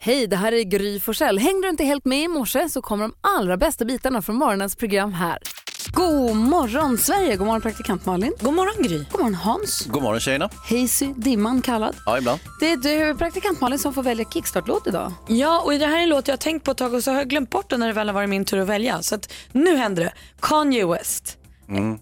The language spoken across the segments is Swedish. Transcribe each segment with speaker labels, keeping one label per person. Speaker 1: Hej, det här är Gry Forssell. Hängde du inte helt med i morse så kommer de allra bästa bitarna från morgonens program här. God morgon Sverige, god morgon praktikant Malin.
Speaker 2: God morgon Gry.
Speaker 1: God morgon Hans.
Speaker 3: God morgon tjejerna.
Speaker 1: Hazy, dimman kallad.
Speaker 3: Ja, ibland.
Speaker 1: Det är du, praktikant Malin, som får välja kickstart-låt idag.
Speaker 2: Ja, och det här är en låt jag har tänkt på ett tag och så har jag glömt bort den när det väl har varit min tur att välja. Så att nu händer det. Kanye West.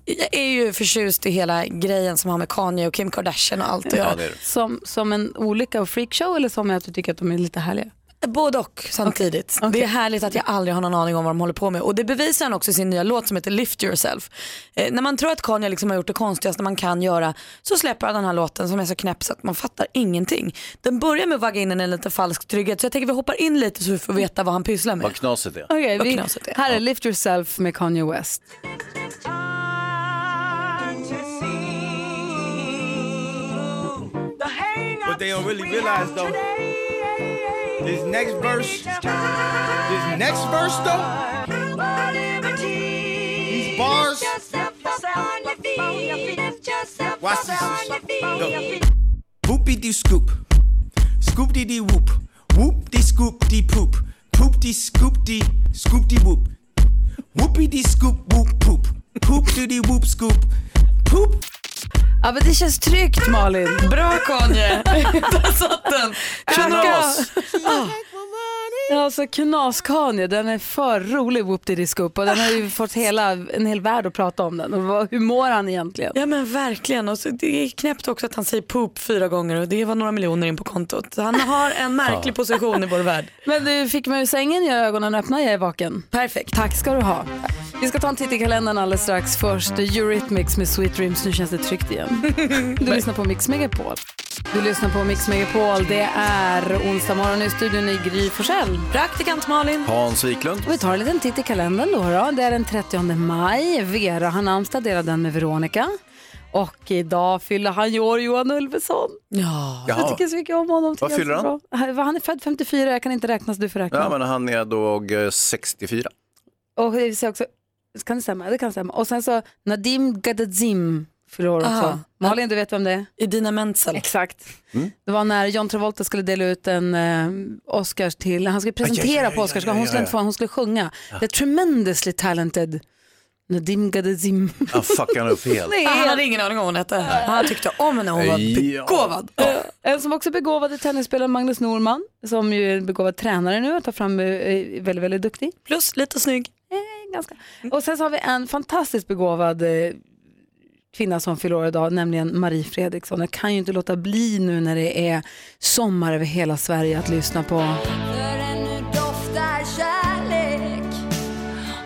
Speaker 2: Jag är ju förtjust i hela grejen som har med Kanye och Kim Kardashian och allt att göra.
Speaker 3: är du.
Speaker 1: Som, som en olycka och freakshow eller som att du tycker att de är lite härliga?
Speaker 2: Både och samtidigt. Det är härligt att jag aldrig har någon aning om vad de håller på med. Och det bevisar han också i sin nya låt som heter Lift Yourself. Eh, när man tror att Kanye liksom har gjort det konstigaste man kan göra så släpper han den här låten som är så knäpp så att man fattar ingenting. Den börjar med att vagga in en liten falsk trygghet så jag tänker vi hoppar in lite så vi får veta vad han pysslar med.
Speaker 3: Vad knasigt det är.
Speaker 1: Okej,
Speaker 2: Vad
Speaker 1: vi-
Speaker 2: knasigt det är.
Speaker 1: här är Lift Yourself med Kanye West.
Speaker 4: But they don't really realize though. This next verse, this next verse though, these bars. Watch this. Go. Whoopie doo scoop, scoop dee dee whoop, whoop dee scoop dee poop, poop dee scoop dee scoop dee whoop, whoopie dee scoop whoop poop, poop doo dee whoop scoop, poop.
Speaker 1: Ja, men det känns tryggt Malin.
Speaker 2: Bra Kanye! Där satt den!
Speaker 3: Knas.
Speaker 1: Ja, Alltså Knas-Kanye, den är för rolig whoop diddy scoop och den har
Speaker 2: Ah.
Speaker 1: ju fått hela, en hel värld att prata om den. Och vad, hur mår han egentligen?
Speaker 2: Ja men verkligen. Och så det är knäppt också att han säger poop fyra gånger och det var några miljoner in på kontot. Så Han har en märklig position i vår värld.
Speaker 1: Men du fick mig ur sängen, jag har ögonen öppna, jag är vaken. Perfekt. Tack ska du ha. Vi ska ta en titt i kalendern alldeles strax. Först eh, Eurythmics med Sweet Dreams. Nu känns det tryggt igen. Du lyssnar på Mix Megapol. Du lyssnar på Mix Megapol. Det är onsdag morgon i studion i Gry Forssell.
Speaker 2: Praktikant Malin.
Speaker 3: Hans Wiklund.
Speaker 1: Och Vi tar en liten titt i kalendern då. då. Det är den 30 maj. Vera har namnsdag, delar den med Veronica. Och idag fyller han ju år, Johan Ulveson.
Speaker 2: Ja.
Speaker 1: Jag
Speaker 3: Jaha.
Speaker 1: tycker så mycket om honom. tycker
Speaker 3: Vad
Speaker 1: jag är
Speaker 3: fyller
Speaker 1: så
Speaker 3: han?
Speaker 1: bra. Han är född 54, jag kan inte räkna så du får räkna.
Speaker 3: Ja, men han är då eh, 64.
Speaker 1: Och det vill säga också, kan det stämma? Det kan stämma. Och sen så Nadim Gadazim fyller år också.
Speaker 2: Aha.
Speaker 1: Malin, du vet vem det är?
Speaker 2: Idina Menzel.
Speaker 1: Exakt. Det var när John Travolta skulle dela ut en eh, Oscars till, han skulle presentera
Speaker 3: ja, ja,
Speaker 1: på Oscarsgalan,
Speaker 3: ja,
Speaker 1: hon
Speaker 3: ja,
Speaker 1: skulle inte
Speaker 3: ja.
Speaker 1: få, hon skulle sjunga. The tremendously talented Nadim Gadazim.
Speaker 3: Han fuckar han upp helt.
Speaker 1: Det
Speaker 2: Han
Speaker 1: är
Speaker 2: hade ingen aning om vad hon hette. Han tyckte om henne, hon var
Speaker 3: Ja.
Speaker 2: begåvad.
Speaker 1: En som också är begåvad är tennisspelaren Magnus Norman, som ju är en begåvad tränare nu och tar fram, eh, är väldigt, väldigt duktig. Eh,
Speaker 2: Plus lite snygg.
Speaker 1: Ganska. Och sen så har vi en fantastiskt begåvad eh, kvinna som fyller år idag, nämligen Marie Fredriksson. Jag kan ju inte låta bli nu när det är sommar över hela Sverige att lyssna på.
Speaker 5: För ännu doftar kärlek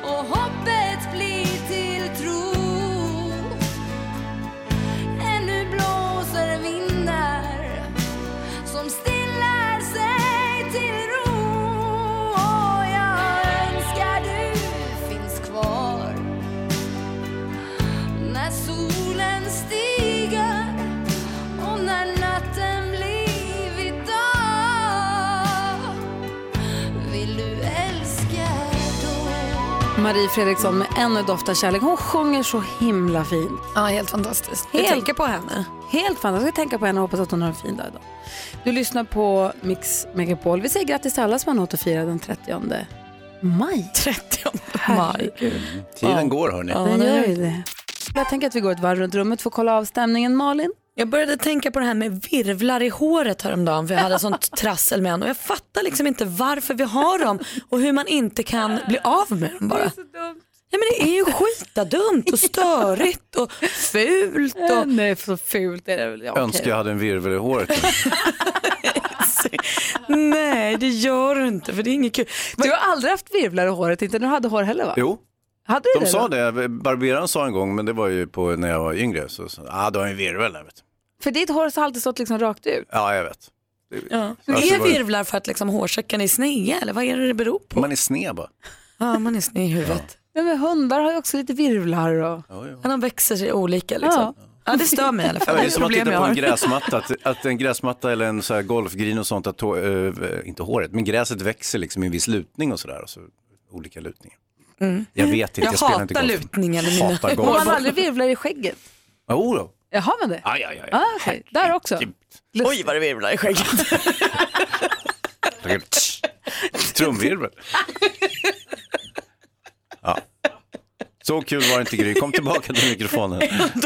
Speaker 5: och hoppet blir till tro. Ännu blåser vindar som stillar sig till ro. Och jag önskar du finns kvar när solen stiger och när natten blivit dag vill du älska då?
Speaker 1: Marie Fredriksson med Ännu doftar kärlek. Hon sjunger så himla fint.
Speaker 2: Ja, helt fantastiskt.
Speaker 1: Helt.
Speaker 2: Jag tänker på henne.
Speaker 1: Helt fantastiskt. Jag ska tänka på henne och hoppas att hon har en fin dag idag. Du lyssnar på Mix Megapol. Vi säger grattis till alla som har något att fira den 30 maj.
Speaker 2: 30 maj.
Speaker 3: Tiden går hörni.
Speaker 2: Ja,
Speaker 1: Den
Speaker 2: det
Speaker 1: gör
Speaker 2: gör
Speaker 1: ju det. Jag tänker att vi går ett varv runt rummet för att kolla av stämningen. Malin?
Speaker 2: Jag började tänka på det här med virvlar i håret häromdagen för jag hade sånt trassel med en och jag fattar liksom inte varför vi har dem och hur man inte kan bli av med dem bara. Ja, men det är ju skitadumt och störigt och fult. Och...
Speaker 1: Nej, så fult är det väl. Ja, okej.
Speaker 3: Önskar jag hade en virvel i håret.
Speaker 2: Nej det gör du inte för det är inget kul.
Speaker 1: Du har aldrig haft virvlar i håret, inte när du hade hår heller va?
Speaker 3: Jo,
Speaker 1: Hade du
Speaker 3: de
Speaker 1: det
Speaker 3: sa
Speaker 1: då?
Speaker 3: det. Barberaren sa en gång, men det var ju på när jag var yngre. Så, så, ah, du har en virvel där vet du.
Speaker 1: För ditt hår har alltid stått liksom rakt ut.
Speaker 3: Ja, jag vet.
Speaker 2: Ja.
Speaker 3: Alltså,
Speaker 2: Är
Speaker 3: vad-
Speaker 2: virvlar för att liksom hårsäcken är sneda eller vad är det det beror på?
Speaker 3: Man är sned bara.
Speaker 2: Ja man är sned i huvudet.
Speaker 1: Men, men hundar har ju också lite virvlar och...
Speaker 3: Ja, ja.
Speaker 2: Men de växer sig olika liksom. Ja. det stör mig i alla
Speaker 3: Ja,
Speaker 2: fall.
Speaker 3: Det är som att
Speaker 2: problem
Speaker 3: titta
Speaker 2: jag
Speaker 3: på en
Speaker 2: har.
Speaker 3: gräsmatta, att, att en gräsmatta eller en så här golfgrin och sånt, att, hå- eh, inte håret, men gräset växer liksom i en viss lutning och sådär. Alltså, olika lutningar. Jag vet inte, jag,
Speaker 2: Mm. Jag
Speaker 3: spelar inte
Speaker 2: hatar
Speaker 3: golf.
Speaker 2: lutningen i mina
Speaker 3: Hatar
Speaker 1: Har
Speaker 3: golf.
Speaker 1: man aldrig virvlar i skägget?
Speaker 3: Jo då.
Speaker 1: Ja, har man det?
Speaker 3: Aj, aj, aj.
Speaker 1: Ah, okej. Där också?
Speaker 3: Herregud.
Speaker 1: Lust-
Speaker 2: Oj vad det virvlar i skägget.
Speaker 3: Tsch. Trumvirvel. Ja. Så kul var det inte Gry. Kom tillbaka till mikrofonen. Ja.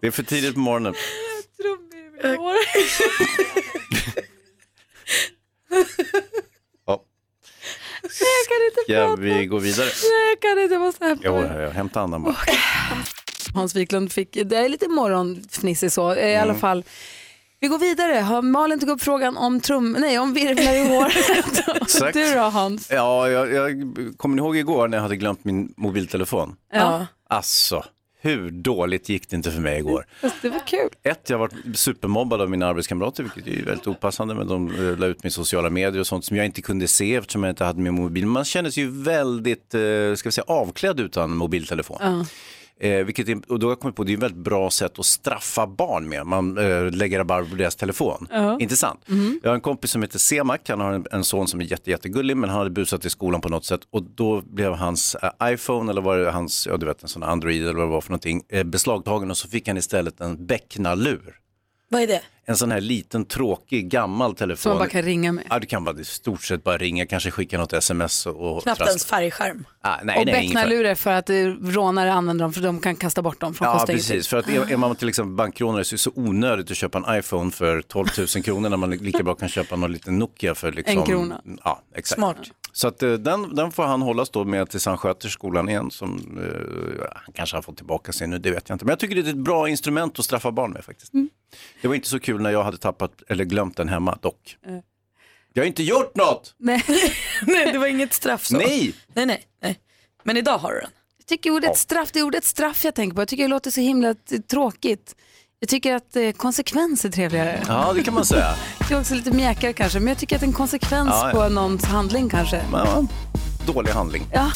Speaker 3: Det är för tidigt på morgonen. Ja. Ska vi gå vidare?
Speaker 1: Jag kan inte, jag måste hämta
Speaker 3: Jo,
Speaker 1: mig.
Speaker 3: jag hämtar andan bara.
Speaker 1: Hans Wiklund fick, det är lite morgonfnissig så, eh, i alla
Speaker 3: Mm.
Speaker 1: fall. Vi går vidare. Har Malin tog upp frågan om trum, nej om virvlar i håret.
Speaker 3: Exakt.
Speaker 1: du då Hans?
Speaker 3: Ja, jag, jag kommer ni ihåg igår när jag hade glömt min mobiltelefon?
Speaker 1: Ja.
Speaker 3: Alltså, hur dåligt gick det inte för mig igår?
Speaker 1: Fast det var kul.
Speaker 3: Ett, jag har varit supermobbad av mina arbetskamrater, vilket är ju väldigt opassande, men de eh, la ut mig i sociala medier och sånt som jag inte kunde se eftersom jag inte hade min mobil. Man känner sig ju väldigt, eh, ska vi säga, avklädd utan mobiltelefon. Eh, vilket är, och då har jag kommit på, det är ett väldigt bra sätt att straffa barn med. Man eh, lägger rabarber på deras telefon. Inte sant?
Speaker 1: Mhm.
Speaker 3: Jag har en kompis som heter Semak, han har en, en son som är jätte, jättegullig men han hade busat i skolan på något sätt och då blev hans eh, iPhone eller var det hans, ja du vet en sån Android eller vad det var för någonting, eh, beslagtagen och så fick han istället en becknarlur.
Speaker 2: Vad är det?
Speaker 3: En sån här liten tråkig gammal telefon.
Speaker 1: Som man bara kan ringa med.
Speaker 3: Ja, du kan bara i stort sett bara ringa, kanske skicka något sms och... och
Speaker 2: Knappt
Speaker 3: trassla.
Speaker 2: ens färgskärm.
Speaker 3: Ah, nej,
Speaker 1: Och
Speaker 3: nej, ingen färg.
Speaker 1: becknarlurar för att eh, rånare använder dem för de kan kasta bort dem från
Speaker 3: Ja,
Speaker 1: första
Speaker 3: precis. För att är, är man till exempel bankrånare så är det så onödigt att köpa en iPhone för 12 000 kronor när man lika bra kan köpa någon liten Nokia för liksom...
Speaker 1: En krona.
Speaker 3: Ja, exakt.
Speaker 2: Smart.
Speaker 3: Så att eh, den, den får han hållas då med tills han sköter skolan igen som eh, han kanske har fått tillbaka sig nu, det vet jag inte. Men jag tycker det är ett bra instrument att straffa barn med faktiskt.
Speaker 1: Mm.
Speaker 3: Det var inte så kul när jag hade tappat eller glömt den hemma dock. Jag har inte gjort något!
Speaker 1: Nej,
Speaker 2: nej, det var inget straff så.
Speaker 3: Nej!
Speaker 2: nej, nej, nej. Men idag har du den.
Speaker 1: jag tycker ordet straff, det är ordet straff jag tänker på. Jag tycker det låter så himla t- tråkigt. Jag tycker att eh, konsekvens är trevligare.
Speaker 3: Ja, det kan man säga.
Speaker 1: Det är också lite mjäkigare kanske, men jag tycker att en konsekvens
Speaker 3: Ja, ja.
Speaker 1: på någons handling kanske.
Speaker 3: Men, ja, dålig handling.
Speaker 1: Ja.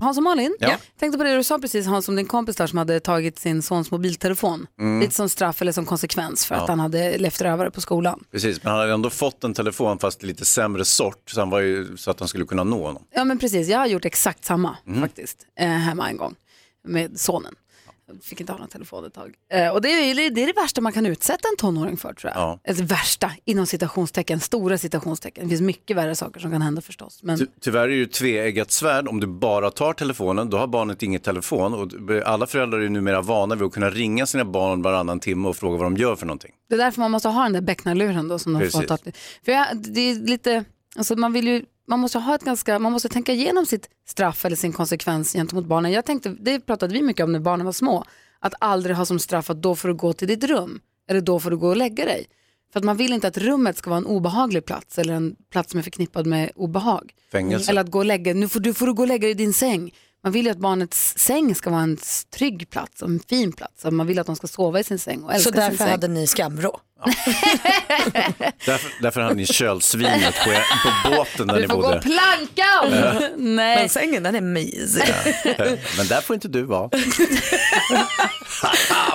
Speaker 1: Hans och Malin,
Speaker 3: Ja.
Speaker 1: tänkte på det du sa precis Hans om din kompis där som hade tagit sin sons mobiltelefon.
Speaker 3: Mm.
Speaker 1: Lite som straff eller som konsekvens för att han hade levt rövare på skolan.
Speaker 3: Precis, men han hade ändå fått en telefon fast lite sämre sort så, han var ju, så att han skulle kunna nå honom.
Speaker 1: Ja men precis, jag har gjort exakt samma
Speaker 3: Mm.
Speaker 1: faktiskt eh, hemma en gång med sonen. Jag Fick inte ha någon telefon ett tag. Eh, och det är, ju- det är det värsta man kan utsätta en tonåring för tror jag.
Speaker 3: Ja.
Speaker 1: Alltså, värsta, inom citationstecken, stora citationstecken. Det finns mycket värre saker som kan hända förstås. Men
Speaker 3: Ty tyvärr är det ju ett tveeggat svärd, om du bara tar telefonen då har barnet inget telefon och du- alla föräldrar är ju numera vana vid att kunna ringa sina barn varannan timme och fråga vad de gör för någonting.
Speaker 1: Det är därför man måste ha den där becknarluren då som de får
Speaker 3: Precis.
Speaker 1: ta till. För jag, det är lite, alltså man vill ju, man måste ha ett ganska, man måste tänka igenom sitt straff eller sin konsekvens gentemot barnen. Jag tänkte, det pratade vi mycket om när barnen var små, att aldrig ha som straff att då får du gå till ditt rum, eller då får du gå och lägga dig. För att man vill inte att rummet ska vara en obehaglig plats eller en plats som är förknippad med obehag.
Speaker 3: Fängelse.
Speaker 1: Eller att gå och lägga, nu får du, får du gå och lägga dig i din säng. Man vill ju att barnets säng ska vara en s- trygg plats och en fin plats. Och Man vill att de ska sova i sin säng och
Speaker 2: Så
Speaker 1: älska sin
Speaker 2: därför
Speaker 1: säng.
Speaker 2: hade ni skamrå.
Speaker 3: Därför, därför hade ni kölsvinet på, er, på båten där
Speaker 1: Du
Speaker 3: ni
Speaker 1: får gå
Speaker 3: bodde.
Speaker 1: och planka om. Nej.
Speaker 2: Men sängen den är mysig.
Speaker 3: Men där får inte du vara.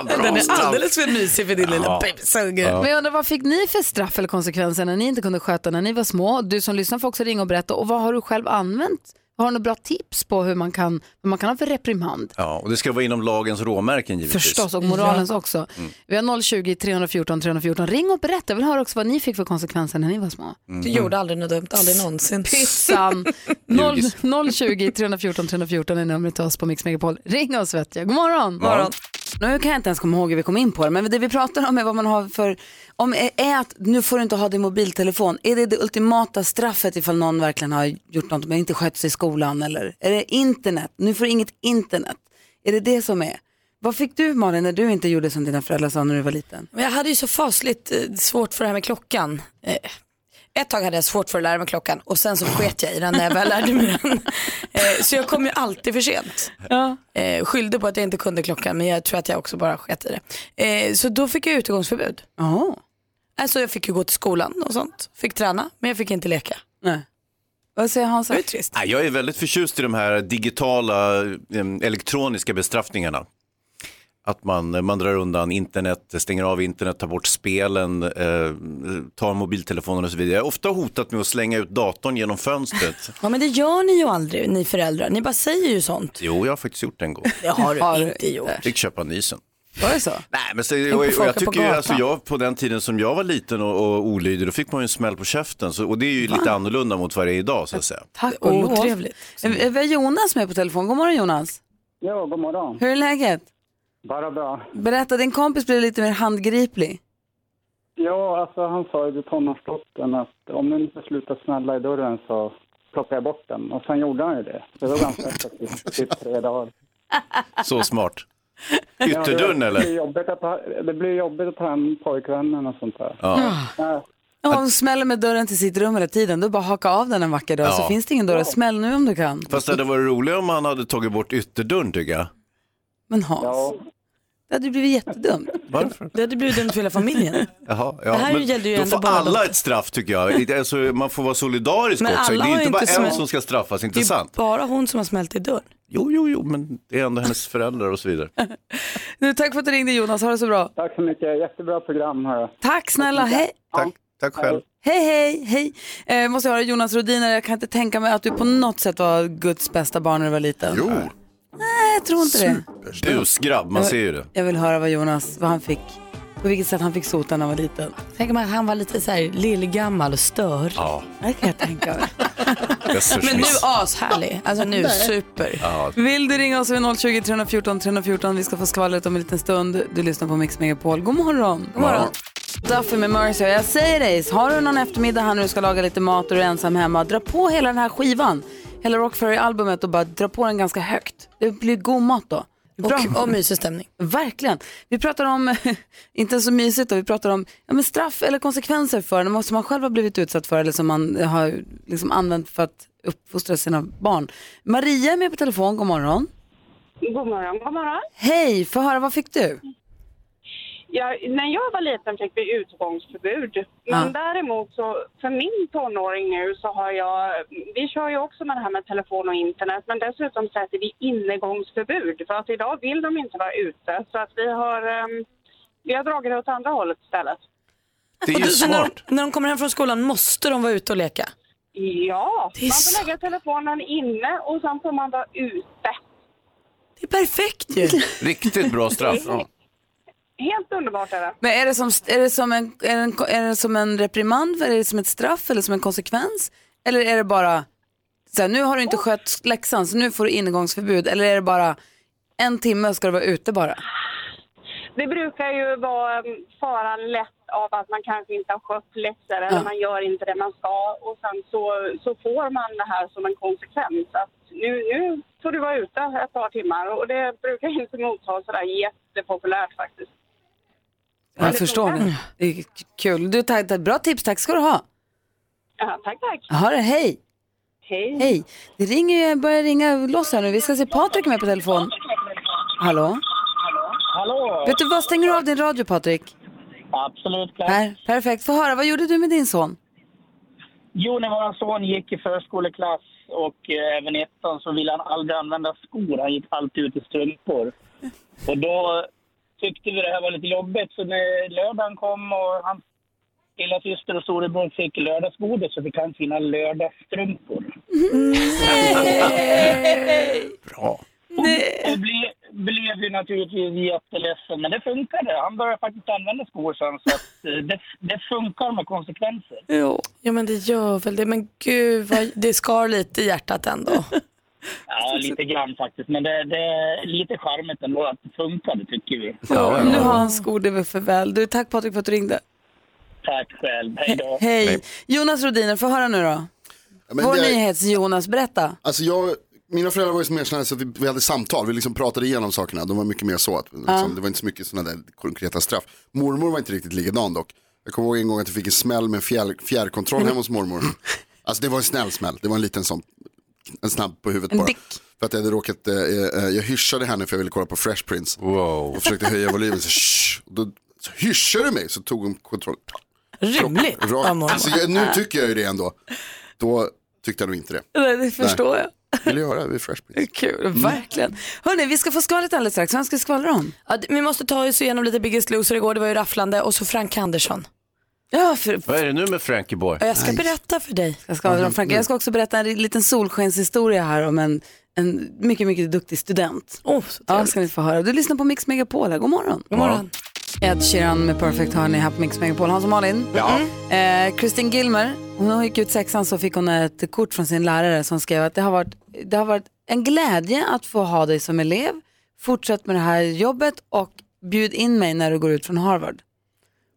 Speaker 2: Den är alldeles för mysig för din lilla
Speaker 3: Ja.
Speaker 2: bebissunge.
Speaker 1: Men jag undrar, vad fick ni för straff eller konsekvenser när ni inte kunde sköta när ni var små? Du som lyssnar får också ringa och berätta. Och vad har du själv använt? Har du några bra tips på hur man kan, vad man kan ha för reprimand?
Speaker 3: Ja, och det ska vara inom lagens råmärken givetvis. Mm.
Speaker 1: Förstås, och moralens också. Vi har 020-314 314. Ring och berätta. Jag vill höra också vad ni fick för konsekvenser när ni var små.
Speaker 3: Mm.
Speaker 2: Du gjorde aldrig något dumt, aldrig någonsin.
Speaker 1: Pytsan! 0-
Speaker 3: Ljugis.
Speaker 1: 020-314 314 är numret till oss på Mix Megapol. Ring oss vet jag. God morgon!
Speaker 2: Morgon.
Speaker 1: Nu kan jag inte ens komma ihåg hur vi kom in på det, men det vi pratar om är vad man har för, om är, är att nu får du inte ha din mobiltelefon. Är det det ultimata straffet ifall någon verkligen har gjort något men inte skött sig i skolan eller? Är det internet? Nu får du inget internet. Är det det som är? Vad fick du Malin när du inte gjorde som dina föräldrar sa när du var liten?
Speaker 2: Men jag hade ju så fasligt eh, svårt för det här med klockan. Eh, Ett tag hade jag svårt för att lära mig klockan och sen så sket jag i den när jag väl lärde mig den. Eh, Så jag kom ju alltid för sent. Eh, Skyllde på att jag inte kunde klockan men jag tror att jag också bara sket i det. Eh, Så då fick jag utegångsförbud.
Speaker 1: Ja,
Speaker 2: Alltså jag fick ju gå till skolan och sånt. Fick träna men jag fick inte leka.
Speaker 1: nej. Vad säger Hans?
Speaker 2: Det var ju trist.
Speaker 3: Nej, Jag är väldigt förtjust i de här digitala, em, elektroniska bestraffningarna. Att man, man drar undan internet, stänger av internet, tar bort spelen, eh, tar mobiltelefonen och så vidare. Jag har ofta hotat med att slänga ut datorn genom fönstret.
Speaker 2: Ja men det gör ni ju aldrig ni föräldrar. Ni bara säger ju sånt.
Speaker 3: Jo, jag har faktiskt gjort det en gång.
Speaker 2: Det har du
Speaker 1: Har du
Speaker 2: inte gjort.
Speaker 3: Fick köpa nysen.
Speaker 1: Var det så?
Speaker 3: Nej, men så, och,
Speaker 2: på
Speaker 3: och
Speaker 2: folk
Speaker 3: jag
Speaker 2: på
Speaker 3: tycker ju,
Speaker 2: gatan.
Speaker 3: alltså, jag, på den tiden som jag var liten och, och olydig, då fick man ju en smäll på käften. Så, och det är ju lite annorlunda mot vad det är idag, så att säga.
Speaker 1: Tack och lov.
Speaker 2: Otrevligt.
Speaker 1: Eh, Vi har Jonas med på telefon. God morgon Jonas.
Speaker 6: Ja, god morgon.
Speaker 1: Hur är läget?
Speaker 6: Bara bra.
Speaker 1: Berätta, din kompis blev lite mer handgriplig.
Speaker 6: Ja, alltså han sa ju till tonårsdottern att om ni inte slutar snälla i dörren så plockar jag bort den. Och sen gjorde han ju det. Det var ganska effektivt, typ tre dagar.
Speaker 3: Så smart.
Speaker 6: Ja, det-
Speaker 3: Ytterdörren
Speaker 6: Det blir
Speaker 3: eller?
Speaker 6: jobbigt att ta, det blir jobbigt att ta hem pojkvännen och sånt där.
Speaker 3: Ja.
Speaker 6: Nej,
Speaker 1: Om hon smäller med dörren till sitt rum hela tiden, då bara haka av den en vacker dag
Speaker 3: Ja.
Speaker 1: så finns det ingen dörr. Smäll nu om du kan.
Speaker 3: Fast det hade varit roligare om han hade tagit bort ytterdörren tycker jag.
Speaker 1: Men Hans,
Speaker 6: ja,
Speaker 1: det hade ju blivit jättedumt.
Speaker 3: Varför?
Speaker 2: Det hade blivit dumt för hela familjen.
Speaker 3: Jaha, ja,
Speaker 2: Det här
Speaker 3: men
Speaker 2: gällde ju
Speaker 3: då
Speaker 2: ändå
Speaker 3: får
Speaker 2: bara
Speaker 3: alla
Speaker 2: dotter.
Speaker 3: ett straff tycker jag. Det- Alltså, man får vara solidarisk
Speaker 2: Men
Speaker 3: också. Det
Speaker 2: alla
Speaker 3: är
Speaker 2: har
Speaker 3: ju inte
Speaker 2: ju
Speaker 3: bara
Speaker 2: inte
Speaker 3: en
Speaker 2: smält.
Speaker 3: som ska straffas, inte
Speaker 2: Det är ju
Speaker 3: sant?
Speaker 2: bara hon som har smält i dörren.
Speaker 3: Jo, jo, jo, men det är ändå hennes föräldrar och så vidare.
Speaker 1: Nu, tack för att du ringde Jonas, ha det så bra.
Speaker 6: tack så mycket. Jättebra program, hörru.
Speaker 1: Tack snälla, hej.
Speaker 3: Tack, tack själv.
Speaker 1: Hej, hej, hej. Eh, måste jag höra Jonas Rodiner, jag kan inte tänka mig att du på något sätt var Guds bästa barn när du var liten.
Speaker 3: Jo,
Speaker 1: Nej, jag tror inte det.
Speaker 3: busgrabb, man ser ju det.
Speaker 1: Jag vill höra vad Jonas, vad han fick, på vilket sätt han fick sota när han var liten.
Speaker 2: Tänk om han var lite så här lillgammal och stör.
Speaker 3: Ja,
Speaker 1: Det kan jag tänka mig.
Speaker 3: Jösses
Speaker 2: Men nu
Speaker 3: miss.
Speaker 2: ashärlig. Alltså nu super.
Speaker 1: Vill du ringa oss vid 020 314 314? Vi ska få skvallret om en liten stund. Du lyssnar på Mix Megapol. God morgon! God
Speaker 3: morgon.
Speaker 1: Duffy med Mercy. Och Jag säger dig, har du någon eftermiddag här när du ska laga lite mat och du är ensam hemma, dra på hela den här skivan, hela Rock Ferry-albumet och bara dra på den ganska högt. Det blir god mat då. Bra.
Speaker 2: Och, och mysig stämning.
Speaker 1: Verkligen. Vi pratar om, inte så mysigt då, vi pratar om ja, men straff eller konsekvenser för det som man själv har blivit utsatt för eller som man har liksom använt för att uppfostra sina barn. Maria är med på telefon, god morgon.
Speaker 7: God morgon, god morgon.
Speaker 1: Hej, få höra vad fick du?
Speaker 7: Jag, när jag var liten fick vi utgångsförbud. Men
Speaker 1: Ja.
Speaker 7: däremot så, för min tonåring nu så har jag, vi kör ju också med det här med telefon och internet, men dessutom sätter vi innegångsförbud. För att idag vill de inte vara ute, så att vi har, ehm, vi har dragit det åt andra hållet istället.
Speaker 3: Det är ju
Speaker 2: Men när,
Speaker 3: smart.
Speaker 2: de, när de kommer hem från skolan måste de vara ute och leka.
Speaker 7: Ja,
Speaker 2: Det är
Speaker 7: man
Speaker 2: så-
Speaker 7: får lägga telefonen inne och sen får man vara ute.
Speaker 2: Det är perfekt ju.
Speaker 3: Riktigt bra straff.
Speaker 7: Helt underbart är det.
Speaker 1: Men är det som, är det som, en, är det en, är det som en reprimand, är det som ett straff eller som en konsekvens? Eller är det bara, så här, nu har du inte skött läxan så nu får du ingångsförbud. Eller är det bara, en timme ska du vara ute bara?
Speaker 7: Det brukar ju vara mm, faran lätt av att man kanske inte har skött läxor eller man gör inte det man ska och sen så, så får man det här som en konsekvens att nu, nu får du vara ute ett par timmar och det brukar inte mottas sådär jättepopulärt faktiskt.
Speaker 1: Jag förstår det. Det är kul. Du, tack, tack, bra tips, tack ska du ha.
Speaker 7: Ja, tack, tack.
Speaker 1: Ha det, hej.
Speaker 7: Hej.
Speaker 1: Hej. Det ringer ju, börjar ringa loss här nu. Vi ska se Patrik är med på telefon. Hallå?
Speaker 6: Hallå!
Speaker 1: Vet du vad, stänger du av din radio Patrik?
Speaker 6: Absolut klart.
Speaker 1: Per, perfekt. Få höra, vad gjorde du med din son?
Speaker 6: Jo, när vår son gick i förskoleklass och eh, även i ettan så ville han aldrig använda skor. Han gick alltid ut i strumpor. Och då tyckte vi det här var lite jobbigt. Så när lördagen kom och hans lilla syster och storebror fick lördagsgodis så fick han sina lördagsstrumpor.
Speaker 3: Bra.
Speaker 6: Och ble, blev ju naturligtvis jätteledsen, men det funkade. Han började faktiskt använda skor sen, så att, eh, det, det funkar med konsekvenser.
Speaker 2: Jo. Ja men det gör väl det. Men gud, vad, det skar lite i hjärtat ändå.
Speaker 6: Ja, lite grann faktiskt. Men det, det är lite charmigt ändå att det funkade, tycker vi.
Speaker 3: Ja,
Speaker 1: Nu
Speaker 3: ja.
Speaker 1: har han skor, det är väl för väl. Du, tack Patrik för att du ringde.
Speaker 6: Tack själv. Hej då.
Speaker 1: Hej. Jonas Rodiner, få höra nu då.
Speaker 8: Ja, men
Speaker 1: Vår
Speaker 8: det-
Speaker 1: nyhets-Jonas, berätta.
Speaker 8: Alltså jag, mina föräldrar var ju mer sådana här så att vi, vi hade samtal, vi liksom pratade igenom sakerna. De var mycket mer så, att, liksom, det var inte så mycket sådana där konkreta straff. Mormor var inte riktigt likadan dock. Jag kommer ihåg en gång att jag fick en smäll med en fjär, fjärrkontroll hemma hos mormor. Alltså det var en snäll smäll, det var en liten sån, en snabb på huvudet bara.
Speaker 1: dick.
Speaker 8: För att jag hade råkat, eh, eh, jag hyschade henne för jag ville kolla på Fresh Prince.
Speaker 3: Wow.
Speaker 8: Och försökte höja volymen, så, shh, och då så hyschade du mig, så tog hon kontrollen.
Speaker 2: Rimligt av
Speaker 8: Rakt.
Speaker 2: mormor.
Speaker 8: Alltså, jag, nu tycker jag ju det ändå. Då tyckte jag nog inte det.
Speaker 1: Nej, Det förstår jag.
Speaker 8: Vill jag höra, det är Fresh Mm. Prince.
Speaker 1: Kul,
Speaker 2: Mm.
Speaker 1: verkligen. Hörni, vi ska få skvallret alldeles strax. Vem ska vi skvallra om?
Speaker 2: Ja, det- vi måste ta oss igenom lite Biggest Loser igår, det var ju rafflande. Och så Frank Andersson.
Speaker 1: Ja, för
Speaker 3: Vad är det nu med Frankie Boy?
Speaker 2: Ja, Jag ska berätta för dig.
Speaker 1: Jag ska, jag ska också berätta en liten solskenshistoria här om en en mycket, mycket duktig student.
Speaker 2: Åh, så
Speaker 1: Ja, ska ni få höra. Du lyssnar på Mix Megapol här. God morgon. God
Speaker 3: morgon.
Speaker 1: Ed Sheeran med Perfect Honey här på Mix Megapol. Hans och Malin.
Speaker 3: Ja.
Speaker 1: Eh, Kristin Gilmer, hon när hon gick ut sexan så fick hon ett kort från sin lärare som skrev att det har varit, det har varit en glädje att få ha dig som elev. Fortsätt med det här jobbet och bjud in mig när du går ut från Harvard.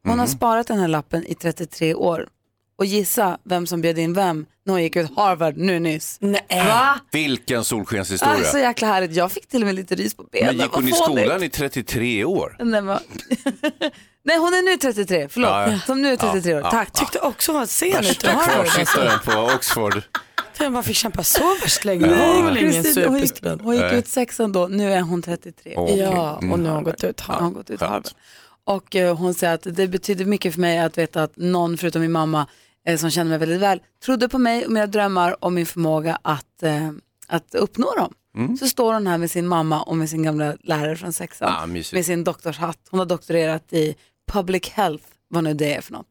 Speaker 1: Hon
Speaker 3: Mhm.
Speaker 1: har sparat den här lappen i 33 år. Och gissa vem som bjöd in vem när hon gick ut Harvard nu nyss.
Speaker 2: Nej.
Speaker 1: Va?
Speaker 3: Vilken solskenshistoria.
Speaker 1: Ah, så jäkla härligt. Jag fick till och med lite rys på benen.
Speaker 3: Men gick hon
Speaker 1: Vad
Speaker 3: i
Speaker 1: fånigt.
Speaker 3: skolan i 33 år?
Speaker 1: Den var... Nej, hon är nu 33. Förlåt.
Speaker 3: Ja, ja.
Speaker 1: Som nu är 33 år.
Speaker 3: Ja,
Speaker 1: Tack.
Speaker 2: Tyckte också var sen ut.
Speaker 3: Värsta kvarsittaren på Oxford.
Speaker 2: Jag bara fick kämpa så värst länge. Det var väl ingen
Speaker 1: Kristin, hon, gick,
Speaker 2: superstudent.
Speaker 1: hon gick
Speaker 3: Nej.
Speaker 1: ut sexan då. Nu är hon 33.
Speaker 3: Åh,
Speaker 2: Ja,
Speaker 3: mm.
Speaker 2: och nu har hon gått ut.
Speaker 1: Ja,
Speaker 2: Har
Speaker 1: hon har gått ut Harvard. Och eh, hon säger att det betyder mycket för mig att veta att någon förutom min mamma eh, som känner mig väldigt väl trodde på mig och mina drömmar och min förmåga att, eh, att uppnå dem.
Speaker 3: Mm.
Speaker 1: Så står hon här med sin mamma och med sin gamla lärare från sexan.
Speaker 3: Ah, mysigt.
Speaker 1: med sin doktorshatt. Hon har doktorerat i public health, vad nu det är för något.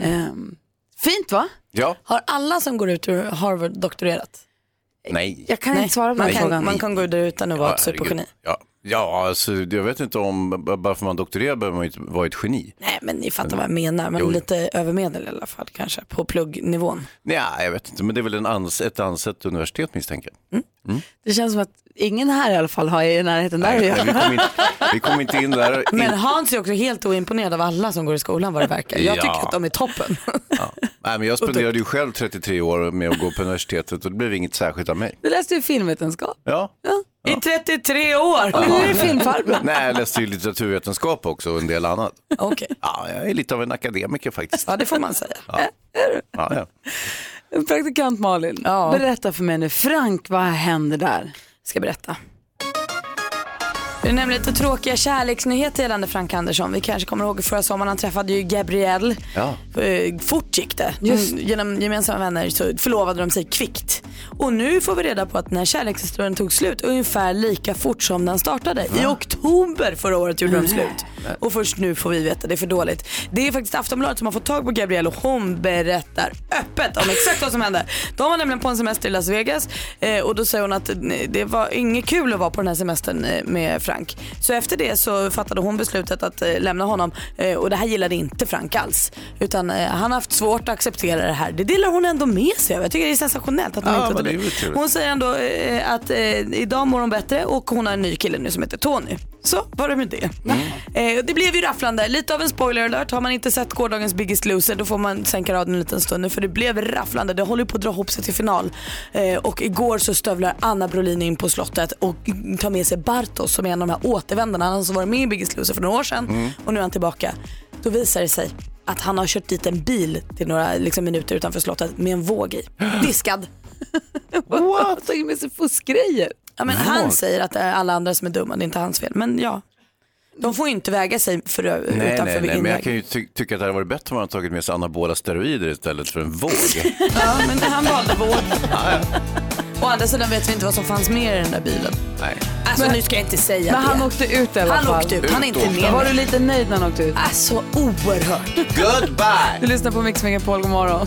Speaker 1: Ehm, fint va?
Speaker 3: Ja,
Speaker 2: Mm. Har alla som går ut ur Harvard doktorerat?
Speaker 3: nej.
Speaker 1: Jag kan inte svara på den
Speaker 2: man kan,
Speaker 1: frågan.
Speaker 2: man kan gå där utan att vara
Speaker 3: Ja,
Speaker 2: ett
Speaker 3: herregud.
Speaker 2: supergeni.
Speaker 3: Ja, ja alltså, jag vet inte om, b- bara för man doktorerar behöver man ju inte vara ett geni.
Speaker 2: Nej men ni fattar vad jag menar, men
Speaker 3: Mm. Jo, jo.
Speaker 2: lite övermedel i alla fall kanske på pluggnivån.
Speaker 3: Nej, jag vet inte, men det är väl en ans, ett ansett universitet misstänker jag.
Speaker 1: Det känns som att ingen här i alla fall har i närheten där
Speaker 3: Nej,
Speaker 1: är jag.
Speaker 3: vi kom inte, vi kom inte in där.
Speaker 2: Men Hans är också helt oimponerad av alla som går i skolan vad det verkar. Jag tycker
Speaker 3: Ja.
Speaker 2: att de är toppen.
Speaker 3: Ja. Nej, men jag spenderade ju själv 33 år med att gå på universitetet och det blev inget särskilt av mig.
Speaker 1: Du läste ju filmvetenskap.
Speaker 3: Ja.
Speaker 2: I 33 år!
Speaker 1: Och nu är du filmfarbror.
Speaker 3: Nej, jag läste ju litteraturvetenskap också och en del annat.
Speaker 2: Okej,
Speaker 3: Ja, jag är lite av en akademiker faktiskt.
Speaker 2: ja det får man säga.
Speaker 3: Ja, ja.
Speaker 1: Praktikant Malin,
Speaker 2: Ja.
Speaker 1: berätta för mig nu. Frank, vad händer där?
Speaker 2: ska berätta. Det är nämligen lite tråkiga kärleksnyheter gällande Frank Andersson. Vi kanske kommer ihåg förra sommaren, han träffade ju Gabrielle.
Speaker 3: Ja.
Speaker 2: Eh, Fort gick det. Mm, Genom gemensamma vänner så förlovade de sig kvickt. Och nu får vi reda på att den här kärlekshistorien tog slut ungefär lika fort som den startade. I oktober förra året gjorde de slut. Och först nu får vi veta, det är för dåligt. Det är faktiskt Aftonbladet som har fått tag på Gabrielle och hon berättar öppet om exakt vad som hände. De var nämligen på en semester i Las Vegas eh, och då säger hon att eh, det var inget kul att vara på den här semestern eh, med Frank. Så efter det så fattade hon beslutet att eh, lämna honom eh, och det här gillade inte Frank alls. Utan eh, han har haft svårt att acceptera det här. Det delar hon ändå med sig av. Jag tycker det är sensationellt att hon
Speaker 3: Ja,
Speaker 2: inte
Speaker 3: men
Speaker 2: tar
Speaker 3: det är
Speaker 2: det.
Speaker 3: väl trevligt.
Speaker 2: Hon säger ändå eh, att eh, idag mår hon bättre och hon har en ny kille nu som heter Tony. Så var det med det. Eh, det blev ju rafflande. Lite av en spoiler alert. Har man inte sett gårdagens Biggest Loser då får man sänka raden en liten stund nu för det blev rafflande. Det håller ju på att dra ihop sig till final. Eh, och igår så stövlar Anna Brolin in på slottet och tar med sig Bartos som är en av de här återvändarna. Han som var med i Biggest Loser för några år sedan och nu är han tillbaka. Då visar det sig att han har kört dit en bil till några liksom, minuter utanför slottet med en våg i. Diskad.
Speaker 1: What? Har tagit med sig fuskgrejer.
Speaker 2: Ja, men han säger att det är alla andra som är dumma, det är inte hans fel. Men ja, de får ju inte väga sig för, eh,
Speaker 3: Nej,
Speaker 2: utanför
Speaker 3: nej, nej, men jag
Speaker 2: inväg.
Speaker 3: kan ju ty- tycka att det hade varit bättre om man hade tagit med sig anabola steroider istället för en våg.
Speaker 2: Ja, men han valde vård. Å andra sidan vet vi inte vad som fanns mer i den där bilen.
Speaker 3: nej.
Speaker 2: Alltså nu ska jag inte säga
Speaker 1: Men
Speaker 2: det.
Speaker 1: han åkte ut i alla
Speaker 2: Han
Speaker 1: fall.
Speaker 2: åkte ut, han är inte
Speaker 3: Ut åkte
Speaker 2: med.
Speaker 3: han.
Speaker 1: Var
Speaker 2: Var
Speaker 1: du
Speaker 2: det-
Speaker 1: lite nöjd när han åkte ut?
Speaker 2: Alltså oerhört.
Speaker 3: Goodbye!
Speaker 1: Du lyssnar på Mix Megapol, god morgon.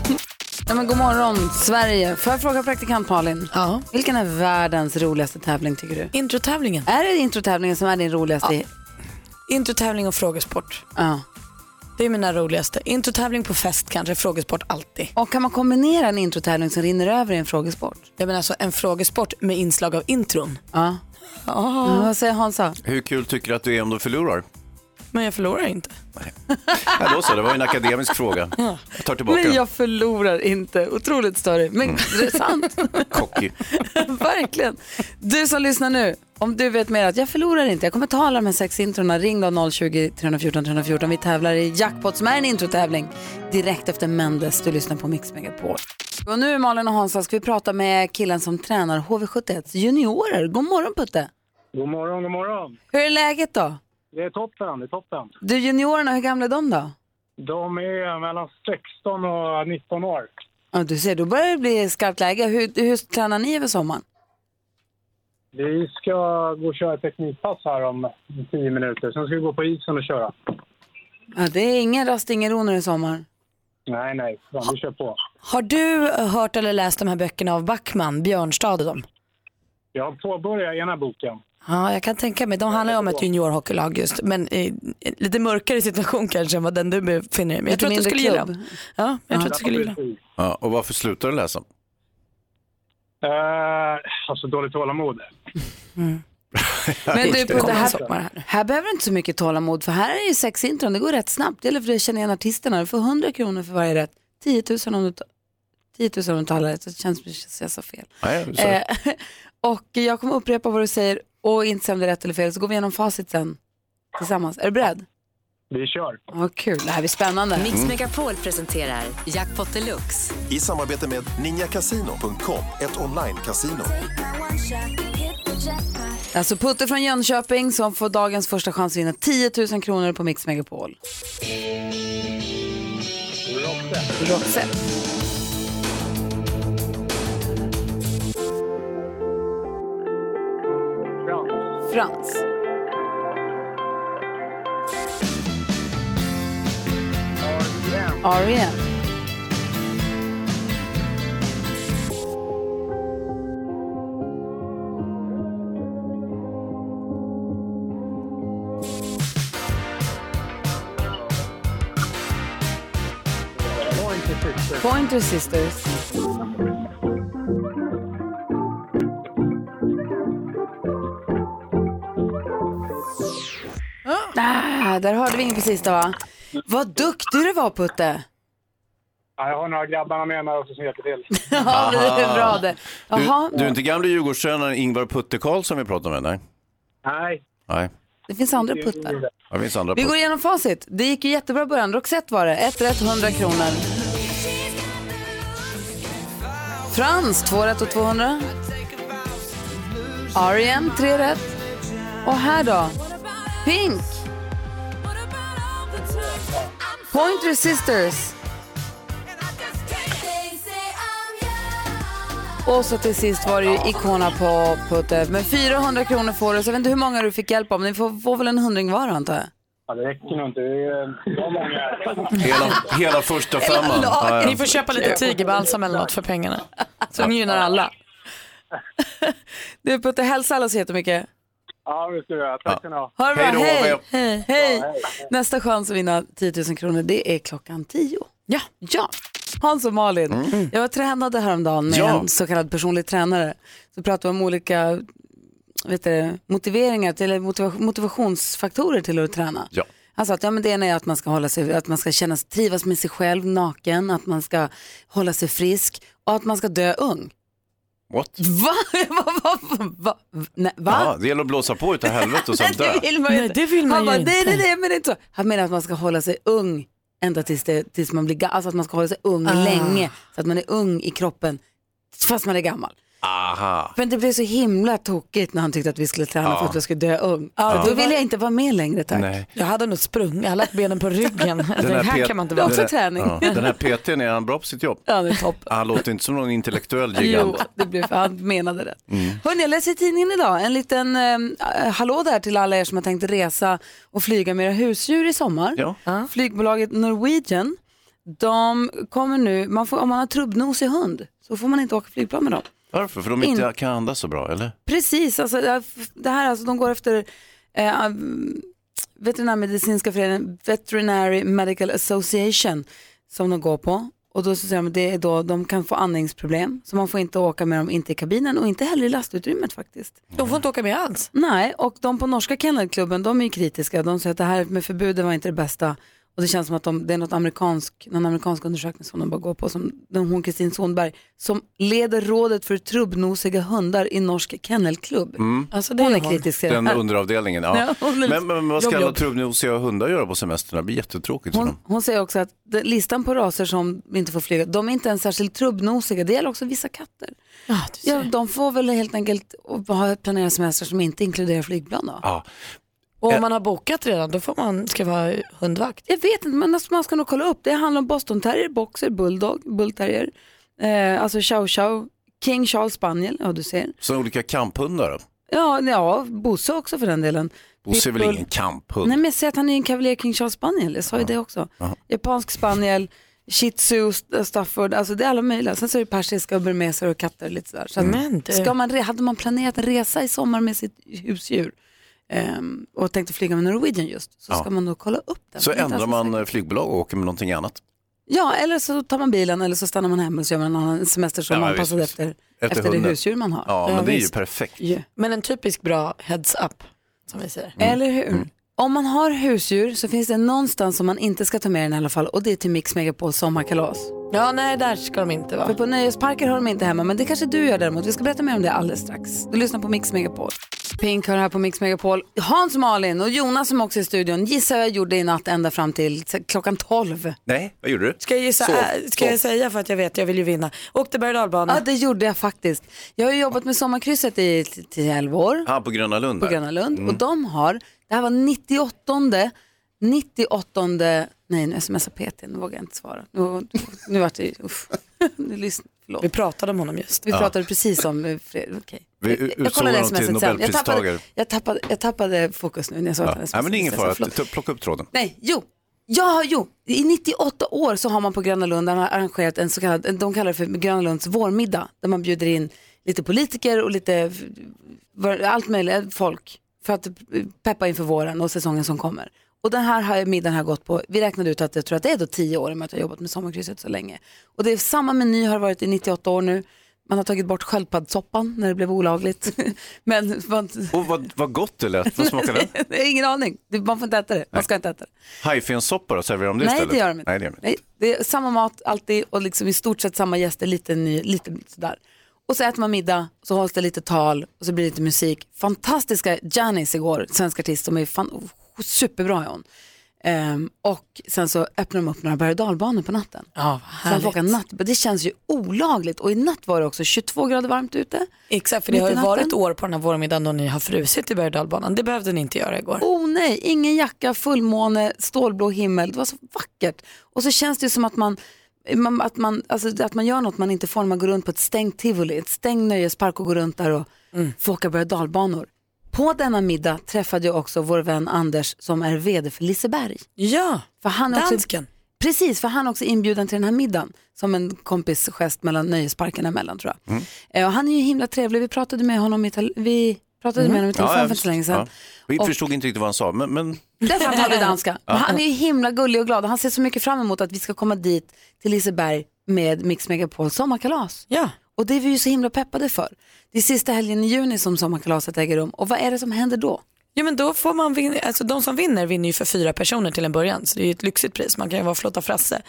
Speaker 1: Ja, men god morgon, Sverige. Får jag fråga praktikant Malin?
Speaker 2: Ja.
Speaker 1: Vilken är världens roligaste tävling tycker du?
Speaker 2: Introtävlingen.
Speaker 1: Är det introtävlingen som är din roligaste? Ja.
Speaker 2: Introtävling och frågesport. Det är mina roligaste. Introtävling på fest kanske, frågesport alltid.
Speaker 1: Och kan man kombinera en introtävling som rinner över i en frågesport?
Speaker 2: Jag menar alltså en frågesport med inslag av intron. Ah.
Speaker 1: Ja. Ja, Vad säger Hansa?
Speaker 3: Hur kul tycker du att du är om du förlorar?
Speaker 2: Men jag förlorar inte.
Speaker 3: Ja, då så, det var ju en akademisk fråga. Jag tar tillbaka
Speaker 1: Men
Speaker 3: den.
Speaker 1: jag förlorar inte. Otroligt större. Men det är sant.
Speaker 3: Cocky.
Speaker 1: Verkligen. Du som lyssnar nu, om du vet mer att jag förlorar inte, jag kommer ta alla de här sex introna, ring då 020-314 314. Vi tävlar i jackpot som är en introtävling direkt efter Mendes. Du lyssnar på Mix Megapol. Och nu Malin och Hansa ska vi prata med killen som tränar HV71 juniorer. God morgon Putte!
Speaker 9: God morgon, god morgon.
Speaker 1: Hur är läget då?
Speaker 9: Det är toppen, det är toppen.
Speaker 1: Du juniorerna, hur gamla är de då?
Speaker 9: De är mellan 16 och 19 år.
Speaker 1: Ja, du ser, då börjar det bli skarpt läge. Hur, hur tränar ni över sommaren?
Speaker 9: Vi ska gå och köra ett teknikpass här om 10 minuter. Sen ska vi gå på isen och köra.
Speaker 1: Ja, det är ingen rast, ingen ro när det är sommar.
Speaker 9: Nej, nej, fan, vi kör på.
Speaker 2: eh, Har du hört eller läst de här böckerna av Backman, Björnstad och dem?
Speaker 9: Jag påbörjar ena boken.
Speaker 2: Ja, jag kan tänka mig. De handlar ju om ett juniorhockeylag just, men i, i, lite mörkare situation kanske än vad den du befinner dig i. Men jag
Speaker 1: Lite
Speaker 2: tror att du
Speaker 1: mindre
Speaker 2: skulle gilla
Speaker 1: klubb.
Speaker 2: dem. Ja, jag tror att du skulle gilla dem.
Speaker 3: Ja, och varför slutar du läsa?
Speaker 9: Eh, alltså dåligt tålamod.
Speaker 1: Mm. Men du,
Speaker 2: Det
Speaker 1: på det
Speaker 2: kommer
Speaker 1: här,
Speaker 2: sommar här.
Speaker 1: här behöver du inte så mycket tålamod för här är ju sex intron, det går rätt snabbt. Det gäller för dig att känna igen artisterna. Du får 100 kronor för varje rätt. 10 000 om du, ta- 10 000 om du talar rätt, så känns det som att jag sa fel.
Speaker 3: Nej, så-
Speaker 1: Eh, och jag kommer upprepa vad du säger och inte säga om det är rätt eller fel så går vi igenom facit sen tillsammans. Är du beredd?
Speaker 9: Vi kör.
Speaker 1: Vad kul, det här blir spännande.
Speaker 10: Mix Megapol presenterar Jackpot Deluxe.
Speaker 11: I samarbete med ninjakasino.com, ett online-casino.
Speaker 1: Alltså Putte från Jönköping som får dagens första chans att vinna 10 000 kronor på Mix Megapol. Roxette. Frans. R.E.M. Pointer Sisters. Ah, där hörde vi inget på sista va? Vad duktig du var Putte!
Speaker 9: Ja, jag har några grabbarna med mig också som hjälper till.
Speaker 1: Ja, det är bra det. Jaha,
Speaker 3: Ah. Du, du är inte gamle Djurgårdstränaren Ingvar Putte Karlsson vi pratar med? Nej.
Speaker 9: Nej,
Speaker 3: Nej.
Speaker 1: det finns andra puttar.
Speaker 3: Det finns andra
Speaker 1: Vi går
Speaker 3: Putte.
Speaker 1: igenom facit. Det gick ju jättebra i början. Roxette var det. Ett rätt, 100 kronor. Frans, två rätt och 200. Arien, tre rätt. Och här då? Pink. Pointer Sisters. Och så till sist var det ju Icona på Putte. Men 400 kronor får du. Så jag vet inte hur många du fick hjälp av. Men ni får, får väl en hundring var antar jag.
Speaker 9: ja, det räcker nog inte. Det är det var många. här.
Speaker 3: Hela, hela första femman. Ja, ja.
Speaker 2: Ni får köpa lite tigerbalsam eller något för pengarna. Som gynnar alla.
Speaker 1: Du Putte, hälsa alla så jättemycket.
Speaker 9: Ja, det ska jag göra. Tack ska ni ha.
Speaker 1: Ha det bra.
Speaker 3: Hej då,
Speaker 1: Hej.
Speaker 3: hej.
Speaker 1: Hej. Hej. Nästa chans att vinna 10 000 kronor, det är klockan 10. Ja. ja. Hans och Malin, jag var tränade häromdagen med
Speaker 3: Mm. Ja.
Speaker 1: en så kallad personlig tränare. Så pratade vi om olika vet du, motiveringar, till, eller motiva- motivationsfaktorer till att träna.
Speaker 3: Ja.
Speaker 1: Han sa att ja, men det ena är att man ska, hålla sig, att man ska känna, trivas med sig själv naken, att man ska hålla sig frisk och att man ska dö ung.
Speaker 3: What?
Speaker 1: Va? va, va, va, va? Nej, va?
Speaker 3: Ja, det gäller att blåsa på utav helvete och sen dö.
Speaker 1: Det vill man ju
Speaker 2: Nej,
Speaker 1: inte.
Speaker 2: det vill man
Speaker 1: Han
Speaker 2: ju
Speaker 1: bara,
Speaker 2: inte.
Speaker 1: Nej, nej, nej, men det är inte så. Han menar att man ska hålla sig ung ända tills, det, tills man blir gammal. Alltså att man ska hålla sig
Speaker 2: Ah.
Speaker 1: ung länge. Så att man är ung i kroppen fast man är gammal.
Speaker 3: Aha.
Speaker 1: Men det blev så himla tokigt när han tyckte att vi skulle träna för att jag skulle dö ung. Då ville jag inte vara med längre tack.
Speaker 3: Nej.
Speaker 2: Jag hade nog sprungit, jag hade lagt benen på ryggen. Alltså, Det här
Speaker 3: pet-
Speaker 2: kan man inte
Speaker 1: Det är
Speaker 2: vara. Alltså,
Speaker 1: också
Speaker 3: den här-
Speaker 1: träning.
Speaker 3: Ja, den här PTn, är han bra på sitt jobb?
Speaker 1: Ja, det är toppen.
Speaker 3: Han låter inte som någon intellektuell
Speaker 1: Jo,
Speaker 3: gigant. Mm.
Speaker 1: det blev, han menade det. Hörrni, jag läser i tidningen idag. En liten eh, hallå där till alla er som har tänkt resa och flyga med era husdjur i sommar.
Speaker 3: Ja.
Speaker 1: Flygbolaget Norwegian, de kommer nu, man får, om man har trubbnosig hund så får man inte åka flygplan med dem.
Speaker 3: Varför? För de inte kan andas så bra, eller?
Speaker 1: Precis, alltså, det här- det här alltså, de går efter eh, veterinärmedicinska föreningen, Veterinary Medical Association, som de går på. Och då så säger de att det är då de kan få andningsproblem, så man får inte åka med dem, inte i kabinen och inte heller i lastutrymmet faktiskt.
Speaker 2: De får inte åka med alls.
Speaker 1: Nej, och de på norska kennelklubben, de är ju kritiska. De säger att det här med förbuden var inte det bästa. Och det känns som att de, det är något amerikansk, någon amerikansk undersökning som de bara går på. Som den, hon Kristin Sonberg, som leder rådet för trubbnosiga hundar i norsk kennelklubb.
Speaker 2: Alltså, det
Speaker 1: Hon är
Speaker 2: hon.
Speaker 1: kritisk till det
Speaker 3: Mm. Den
Speaker 1: här.
Speaker 3: underavdelningen,
Speaker 1: Ja,
Speaker 3: ja.
Speaker 1: hon är-
Speaker 3: Men, men vad
Speaker 1: jobb,
Speaker 3: ska alla
Speaker 1: jobb.
Speaker 3: trubbnosiga hundar göra på semestern? Det blir jättetråkigt för
Speaker 1: Hon,
Speaker 3: dem.
Speaker 1: hon säger också att de- listan på raser som inte får flyga, de är inte ens särskilt trubbnosiga. Det gäller också vissa katter.
Speaker 2: Ja, du ser.
Speaker 1: Ja, de får väl helt enkelt ha- planera semester som inte inkluderar flygplan då.
Speaker 3: Ja. Eh.
Speaker 2: Och om man har bokat redan, då får man, ska vara hundvakt.
Speaker 1: Jag vet inte, men alltså, man ska nog kolla upp. Det handlar om bostonterrier, boxer, bulldog, bullterrier, eh, alltså chow chow, king charles spaniel, ja du ser.
Speaker 3: Så olika kamphundar då?
Speaker 1: Ja, ja Bosse också för den delen.
Speaker 3: Bosse är väl
Speaker 1: Pitbull.
Speaker 3: ingen kamphund?
Speaker 1: Nej men jag säger att han är en cavalier king charles spaniel, jag sa ju det också. Japansk spaniel, shih tzu, st- stafford, alltså det är alla möjliga. Sen så är det persiska och burmeser och katter och lite sådär. Så att,
Speaker 2: Men du.
Speaker 1: ska man, re- hade man planerat en resa i sommar med sitt husdjur ehm, och tänkte flyga med Norwegian just, så
Speaker 3: Ja.
Speaker 1: ska man då kolla upp den. alltså
Speaker 3: Så
Speaker 1: Det är inte
Speaker 3: ändrar
Speaker 1: alls
Speaker 3: man eh, flygbolag och åker med någonting annat.
Speaker 1: Ja, eller så tar man bilen eller så stannar man hemma och så gör man en annan semester som
Speaker 3: Ja,
Speaker 1: anpassad
Speaker 3: visst,
Speaker 1: efter,
Speaker 3: visst.
Speaker 1: efter,
Speaker 3: Efter
Speaker 1: det
Speaker 3: hunden.
Speaker 1: husdjur man har.
Speaker 3: Ja, men det är ju
Speaker 1: visst.
Speaker 3: perfekt.
Speaker 1: Ja.
Speaker 2: Men en typisk bra heads up som vi säger.
Speaker 1: Eller hur?
Speaker 2: Mm.
Speaker 1: Om man har husdjur så finns det någonstans som man inte ska ta med den i alla fall och det är till Mix Megapol sommarkalas.
Speaker 2: Ja, nej, där ska de inte vara.
Speaker 1: För på nöjesparker har de inte hemma, men det kanske du gör däremot. Vi ska berätta mer om det alldeles strax. Du lyssnar på Mix Megapol. Pink hör här på Mix Megapol. Hans Malin och Jonas som också är i studion gissar jag gjorde i natt ända fram till klockan 12.
Speaker 3: Nej, vad gjorde du?
Speaker 2: Ska jag gissa? äh, ska jag säga för att jag vet, jag vill ju vinna. Åkte berg och dalbana.
Speaker 1: Ja, det gjorde jag faktiskt. Jag har ju jobbat med Sommarkrysset i t- till 11 år.
Speaker 3: Ja, på Gröna Lund.
Speaker 1: på
Speaker 3: där.
Speaker 1: Gröna Lund
Speaker 3: Mm.
Speaker 1: och de har, det här var 98 98 nej nu smsar PT, nu vågar jag inte svara. Nu, nu vart det, uff, nu lyssn, förlåt.
Speaker 2: Vi pratade om honom just.
Speaker 1: Vi
Speaker 3: Ja.
Speaker 1: pratade precis om eh, Fredrik, okej.
Speaker 3: Vi u-
Speaker 1: Jag
Speaker 3: utsåg
Speaker 1: kollade
Speaker 3: honom till
Speaker 1: smset sen. Jag tappade,
Speaker 3: Nobelpristagare.
Speaker 1: jag, tappade, jag tappade fokus nu när jag såg att
Speaker 3: Ja.
Speaker 1: han smsade.
Speaker 3: Nej, men det är ingen
Speaker 1: Så jag sa,
Speaker 3: fara,
Speaker 1: förlåt.
Speaker 3: T- plocka upp tråden.
Speaker 1: Nej, jo. Ja, jo. I 98 år så har man på Gröna Lund man har arrangerat en så kallad, de kallar det för Gröna Lunds vårmiddag, där man bjuder in lite politiker och lite f- var- allt möjligt eh, folk för att eh, peppa inför våren och säsongen som kommer. Och den här har- middagen har gått på, vi räknade ut att jag tror att det är då 10 år i och med att jag har jobbat med sommarkrysset så länge. Och det är samma meny har det varit i 98 år nu. Man har tagit bort sköldpaddsoppan när det blev olagligt. Men man,
Speaker 3: Och vad, vad gott det lät, vad smakade den?
Speaker 1: ingen aning, Det- man får inte äta det, man ska inte äta det.
Speaker 3: Hajfenssoppa då, serverar de det
Speaker 1: Nej,
Speaker 3: istället?
Speaker 1: det gör de inte.
Speaker 3: Nej, det gör de inte.
Speaker 1: Nej, det är samma mat alltid och liksom i stort sett samma gäster, lite, ny, lite sådär. Och så äter man middag, så hålls det lite tal och så blir det lite musik. Fantastiska Janis igår, svensk artist, som är fan, superbra är hon. Ehm, och sen så öppnar de upp några berg och dalbanor på natten.
Speaker 2: Ja,
Speaker 1: Så man får åka natt, men det känns ju olagligt. Och i natt var det också 22 grader varmt ute.
Speaker 2: Exakt, för det
Speaker 1: Mitt
Speaker 2: har
Speaker 1: i
Speaker 2: ju
Speaker 1: natten.
Speaker 2: varit år på den här vårmiddagen då ni har frusit i berg och dalbanan. Det behövde ni inte göra igår.
Speaker 1: Oh nej, ingen jacka, fullmåne, stålblå himmel. Det var så vackert. Och så känns det ju som att man, man, att man, alltså, att man gör något man inte får när man går runt på ett stängt tivoli, ett stängt nöjespark och går runt där och
Speaker 3: Mm.
Speaker 1: får åka berg och dalbanor. På denna middag träffade jag också vår vän Anders som är vd för Liseberg.
Speaker 2: Ja,
Speaker 1: För han är
Speaker 2: Dansken.
Speaker 1: Också, precis, för han är också inbjuden till den här middagen som en kompisgest mellan nöjesparkerna emellan tror
Speaker 3: Mm.
Speaker 1: jag. Eh, Och han är ju himla trevlig, vi pratade med honom i, tel- vi pratade med honom i telefon för inte så länge sedan.
Speaker 3: Mm. Ja. Vi
Speaker 1: Och-
Speaker 3: förstod inte riktigt vad han sa, men, men
Speaker 1: Därför han talar danska.
Speaker 3: Ja.
Speaker 1: Men Han är ju himla gullig och glad och han ser så mycket fram emot att vi ska komma dit till Liseberg med Mix Megapol sommarkalas.
Speaker 2: Ja.
Speaker 1: Och det är vi ju så himla peppade för. Det är sista helgen i juni som sommarkalaset äger rum och vad är det som händer då?
Speaker 2: Ja men då får man vinna, alltså de som vinner vinner ju för fyra personer till en början så det är ju ett lyxigt pris, man kan ju vara flotta Frasse.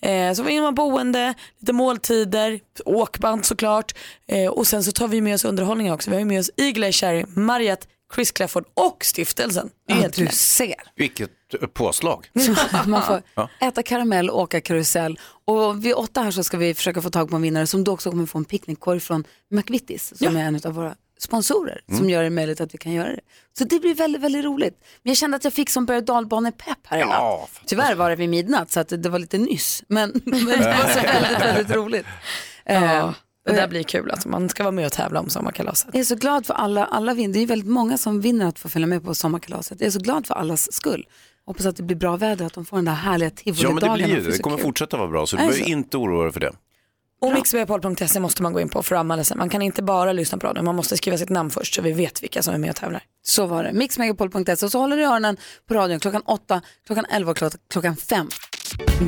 Speaker 2: Eh, så vinner man boende, lite måltider, åkband såklart eh, och sen så tar vi med oss underhållningar också. Vi har ju med oss Eagle-Eye Cherry, Mariette, Chris Clafford och stiftelsen. Det är helt
Speaker 1: du
Speaker 2: knäppt.
Speaker 1: ser.
Speaker 3: vilket eh, påslag.
Speaker 1: Mm. Man får
Speaker 3: Ja.
Speaker 1: äta karamell och åka karusell. Och vid åtta här så ska vi försöka få tag på en vinnare som då också kommer få en picknickkorg från McVittys som är en av våra sponsorer som gör det möjligt att vi kan göra det. Så det blir väldigt, väldigt roligt. Men jag kände att jag fick som berg och dalbanepepp här i
Speaker 3: Ja,
Speaker 1: natt. Tyvärr var det vid midnatt så att det var lite nyss. Men, men det var så väldigt, väldigt roligt. Eh,
Speaker 2: Ja, det där blir kul, alltså, man ska vara med och tävla om sommarkalaset.
Speaker 1: jag är så glad för alla, alla vinner. Det är ju väldigt många som vinner att få följa med på sommarkalaset. Jag är så glad för allas skull. Hoppas att det blir bra väder, att de får den där härliga
Speaker 3: Ja,
Speaker 1: tivolidagen.
Speaker 3: men det blir ju
Speaker 1: att
Speaker 3: det. Det
Speaker 1: så
Speaker 3: kommer
Speaker 1: kul.
Speaker 3: fortsätta vara bra, så
Speaker 1: Är
Speaker 3: du
Speaker 1: det
Speaker 3: behöver
Speaker 1: så?
Speaker 3: inte oroa dig för det.
Speaker 2: Och mixmegapol.se måste man gå in på för att anmäla sig. Man kan inte bara lyssna på radion, man måste skriva sitt namn först så vi vet vilka som är med och tävlar.
Speaker 1: Så var det. Mixmegapol.se och så håller du i öronen på radion klockan 8, klockan 11 och klo- klockan 5.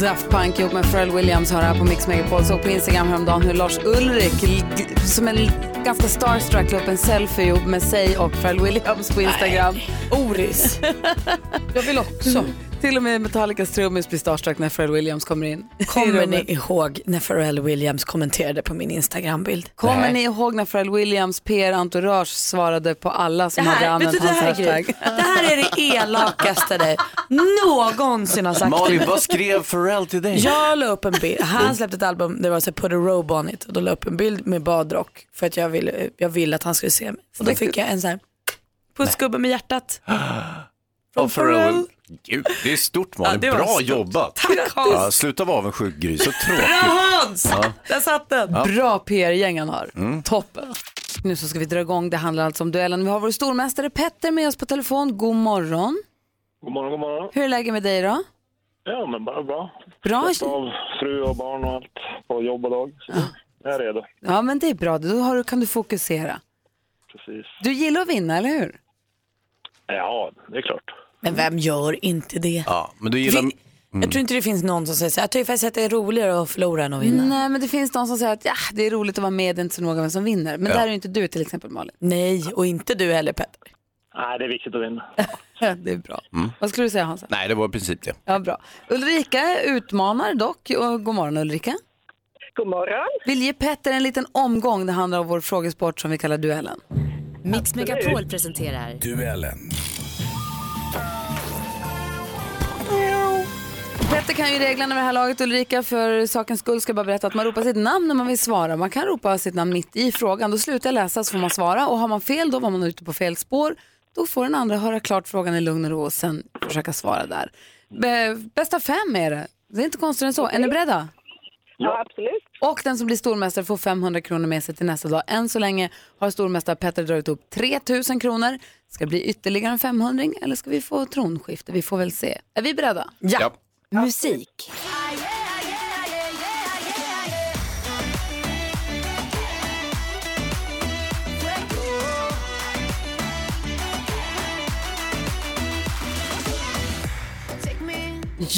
Speaker 1: Daft Punk ihop med Pharrell Williams har det här på Mix Megapol. Såg på Instagram häromdagen hur Lars Ulrik, l- g- som är l- ganska starstruck, la upp en selfie ihop med sig och Pharrell Williams på Instagram.
Speaker 2: Oris. Jag vill också.
Speaker 1: Till och med Metallicas trummis blir starstruck när Pharrell Williams kommer in.
Speaker 2: Kommer ni ihåg när Pharrell Williams kommenterade på min Instagrambild?
Speaker 1: Kommer ni ihåg när Pharrell Williams PR-entourage svarade på alla som hade använt hans hashtag?
Speaker 2: det här är det elakaste dig någonsin har sagt till
Speaker 3: Malin,
Speaker 2: mig.
Speaker 3: vad skrev Pharrell till dig?
Speaker 2: Jag la upp en bild, han släppte ett album där det var så här, put a robe on it och då la jag upp en bild med badrock för att jag ville, jag ville att han skulle se mig. Och då fick jag en så här pussgubbe med hjärtat.
Speaker 3: Av
Speaker 2: Pharrell.
Speaker 3: Gud, det är stort Malin,
Speaker 2: Ja, det var
Speaker 3: bra
Speaker 2: stort.
Speaker 3: jobbat.
Speaker 2: Tack
Speaker 3: Ja,
Speaker 2: Hans!
Speaker 3: sluta vara avundsjuk Gry, så tråkigt.
Speaker 2: Hans! Där satt den.
Speaker 1: Bra PR-gäng han har. Toppen. Nu så ska vi dra igång. Det handlar alltså om duellen. Vi har vår stormästare Petter med oss på telefon. God morgon.
Speaker 9: God morgon, god morgon.
Speaker 1: Hur är läget med dig då?
Speaker 12: Ja, men bara bra.
Speaker 1: Bra.
Speaker 12: Släppt av fru och barn och allt på jobb och dag. Så jag är redo.
Speaker 1: Ja, men det är bra. Då har du, kan du fokusera.
Speaker 12: Precis.
Speaker 1: Du gillar att vinna, eller hur?
Speaker 12: Ja, det är klart.
Speaker 2: Men vem gör inte det?
Speaker 3: Ja, men du gillar... mm.
Speaker 2: Vi- Jag tror inte det finns någon som säger så här, jag tycker faktiskt att det är roligare att förlora än att vinna.
Speaker 1: Nej, men det finns de som säger att ja, det är roligt att vara med, det är inte så noga vem som vinner. Men
Speaker 2: Ja.
Speaker 1: där är ju inte du till exempel, Malin.
Speaker 2: Nej, och inte du heller, Petter.
Speaker 12: Nej, det är viktigt att vinna.
Speaker 1: det är bra. Vad skulle du säga, Hansa?
Speaker 3: Mm. Nej, det var i princip det.
Speaker 1: Ja, bra. Ulrika utmanar dock. Och god morgon Ulrika.
Speaker 13: God morgon.
Speaker 1: Vill ge Petter en liten omgång. Det handlar om vår frågesport som vi kallar duellen.
Speaker 10: Mix Megapol presenterar
Speaker 14: Duellen.
Speaker 1: Petter kan ju reglerna med det här laget. Ulrika, för sakens skull ska jag bara berätta att man ropar sitt namn när man vill svara. Man kan ropa sitt namn mitt i frågan. Då slutar jag läsa så får man svara. Och har man fel, då var man ute på fel spår. Då får den andra höra klart frågan i lugn och ro och sen försöka svara där. Bä- Bästa fem är det. Det är inte konstigt än så. Är ni beredda?
Speaker 13: Ja, absolut.
Speaker 1: Och den som blir stormästare får 500 kronor med sig till nästa dag. Än så länge har stormästare Petter dragit upp 3000 kronor. Ska det bli ytterligare en 500 eller ska vi få tronskifte? Vi får väl se. Är vi beredda?
Speaker 3: Ja.
Speaker 1: Musik.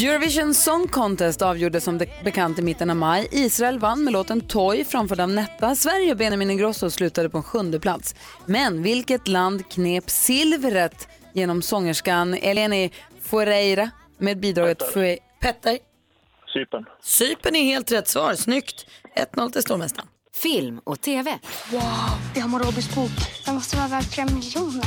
Speaker 1: Eurovision Song Contest avgjordes som det- bekant i mitten av maj. Israel vann med låten Toy framförd av Netta. Sverige och Benjamin Ingrosso slutade på en sjunde plats. Men vilket land knep silvret genom sångerskan Eleni Foureira med bidraget Fue- Petter?
Speaker 12: Cypern.
Speaker 2: Cypern är helt rätt svar, snyggt. 1-0 till stormästaren.
Speaker 10: film och tv.
Speaker 15: Wow, det har Robins bok. Den måste vara värd flera miljoner.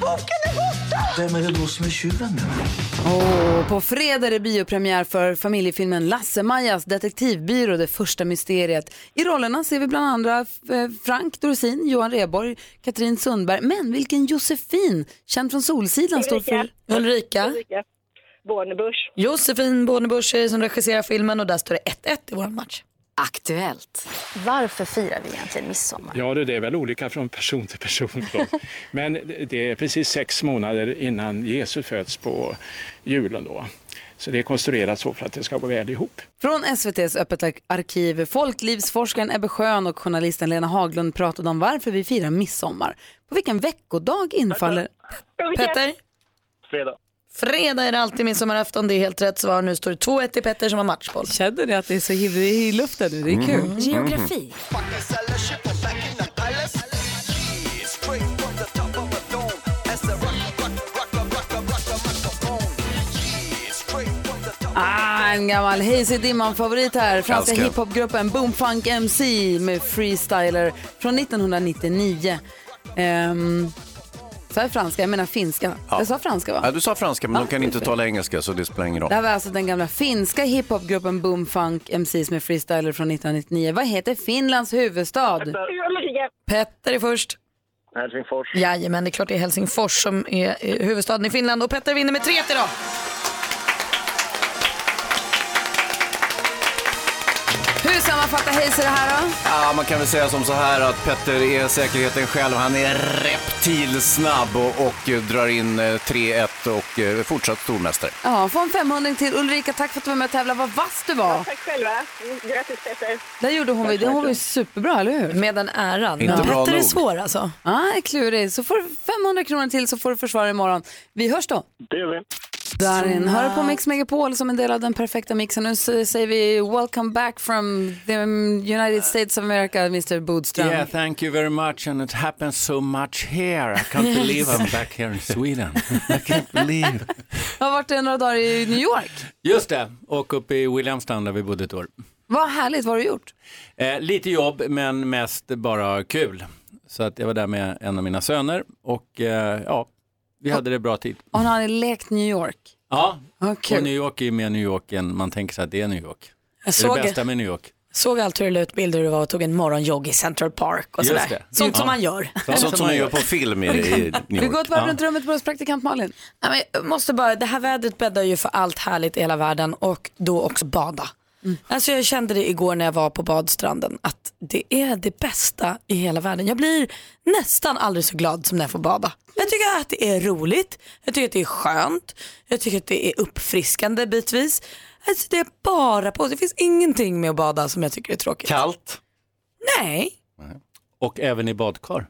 Speaker 15: Boken är borta!
Speaker 16: Vem är det då som är tjuven nu?
Speaker 1: Och på fredag är det biopremiär för familjefilmen Lasse-Majas detektivbyrå, det första mysteriet. I rollerna ser vi bland andra eh, Frank Dorsin, Johan Rheborg, Katrin Sundberg. Men vilken Josefin, känd från Solsidan, står för...
Speaker 2: Ulrika.
Speaker 13: Bornebusch.
Speaker 2: Josefin Bornebusch är det som regisserar filmen och där står det 1-1 i vår match.
Speaker 10: Aktuellt.
Speaker 15: Varför firar vi egentligen midsommar?
Speaker 17: Ja, du, det är väl olika från person till person. Då. Men det är precis sex månader innan Jesus föds på julen. Då. Så det är konstruerat så för att det ska gå väl ihop.
Speaker 1: Från SVTs Öppet ar- arkiv, folklivsforskaren Ebbe Schön och journalisten Lena Haglund pratade om varför vi firar midsommar. På vilken veckodag infaller...
Speaker 2: Petter?
Speaker 12: Fredag.
Speaker 2: Fredag är det alltid midsommarafton, det är helt rätt svar. Nu står det 2-1 till Petter som har matchboll. Mm.
Speaker 1: Känner ni att det är så himla i luften nu? Det
Speaker 2: är kul.
Speaker 1: Mhm.
Speaker 2: Geografi.
Speaker 1: Ah, en gammal Hayes i dimman-favorit här. Franska
Speaker 17: Älskar.
Speaker 1: hiphopgruppen Boomfunk MC med Freestyler från 1999. Um, sa jag franska? Jag menar finska. Jag sa franska va?
Speaker 3: Ja, du sa franska, men de kan inte tala engelska, så det spelar ingen roll.
Speaker 1: Det här var alltså den gamla finska hiphopgruppen Boomfunk MCs med Freestyler från 1999. Vad heter Finlands huvudstad?
Speaker 2: Petter är först.
Speaker 12: Helsingfors.
Speaker 2: Jajamän, det är klart det är Helsingfors som är eh, huvudstaden i Finland och Petter vinner med 3-1 idag.
Speaker 1: Hur sammanfattar Hayes det här då?
Speaker 3: Ja, man kan väl säga som så här att Petter är säkerheten själv. Han är reptilsnabb och, och eh, drar in eh, 3-1 och eh, fortsatt stormästare.
Speaker 1: Ja, få en 500 till. Ulrika, tack för att du var med och tävlade. Vad vass du var.
Speaker 13: Tack själva. Mm, Grattis Petter.
Speaker 1: Där gjorde hon, det hon var ju superbra, eller hur?
Speaker 2: Med den äran.
Speaker 1: Inte Ja. bra
Speaker 2: Petter är
Speaker 1: nog.
Speaker 2: svår alltså.
Speaker 1: Ja, ah, klurig. Så får du 500 kronor till så får du försvara imorgon. Vi hörs då.
Speaker 12: Det gör vi.
Speaker 1: Darin, hör på Mix Megapol som en del av den perfekta mixen. Nu s- säger vi welcome back from the
Speaker 2: Äh.
Speaker 1: United States of America, Mr Bodström.
Speaker 18: Yeah, thank you very much, and it happens so much here. I can't
Speaker 1: Yes.
Speaker 18: believe I'm back here in Sweden. I can't believe.
Speaker 1: Jag har varit där några dagar i New York.
Speaker 18: Just det, och uppe i Williamstown där vi bodde ett år.
Speaker 1: Vad härligt, vad har du gjort?
Speaker 18: Eh, lite jobb, men mest bara kul. Så att jag var där med en av mina söner och eh, ja, vi hade det bra tid.
Speaker 1: Och han har lekt New York.
Speaker 18: Ja,
Speaker 1: kul.
Speaker 18: och New York är ju mer New York än man tänker sig att det är New York.
Speaker 2: Jag
Speaker 18: det är
Speaker 2: såg-
Speaker 18: det bästa med New York.
Speaker 2: Såg allt hur du la ut bilder hur du var och tog en morgonjogg i Central Park och
Speaker 18: Just
Speaker 2: sådär.
Speaker 18: det.
Speaker 2: Sånt som
Speaker 18: Ja.
Speaker 2: man gör.
Speaker 3: Sånt som man gör på film i, i New
Speaker 1: Vi
Speaker 3: York.
Speaker 1: går ett varv runt rummet på oss praktikant Malin.
Speaker 2: Nej, men jag måste bara, det här vädret bäddar ju för allt härligt i hela världen och då också bada.
Speaker 1: Mm.
Speaker 2: Alltså jag kände det igår när jag var på badstranden att det är det bästa i hela världen. Jag blir nästan aldrig så glad som när jag får bada. Jag tycker jag att det är roligt, jag tycker att det är skönt, jag tycker att det är uppfriskande bitvis. Alltså det är bara på. Det finns ingenting med att bada som jag tycker är tråkigt.
Speaker 18: Kallt
Speaker 2: Nej,
Speaker 18: och även i badkar.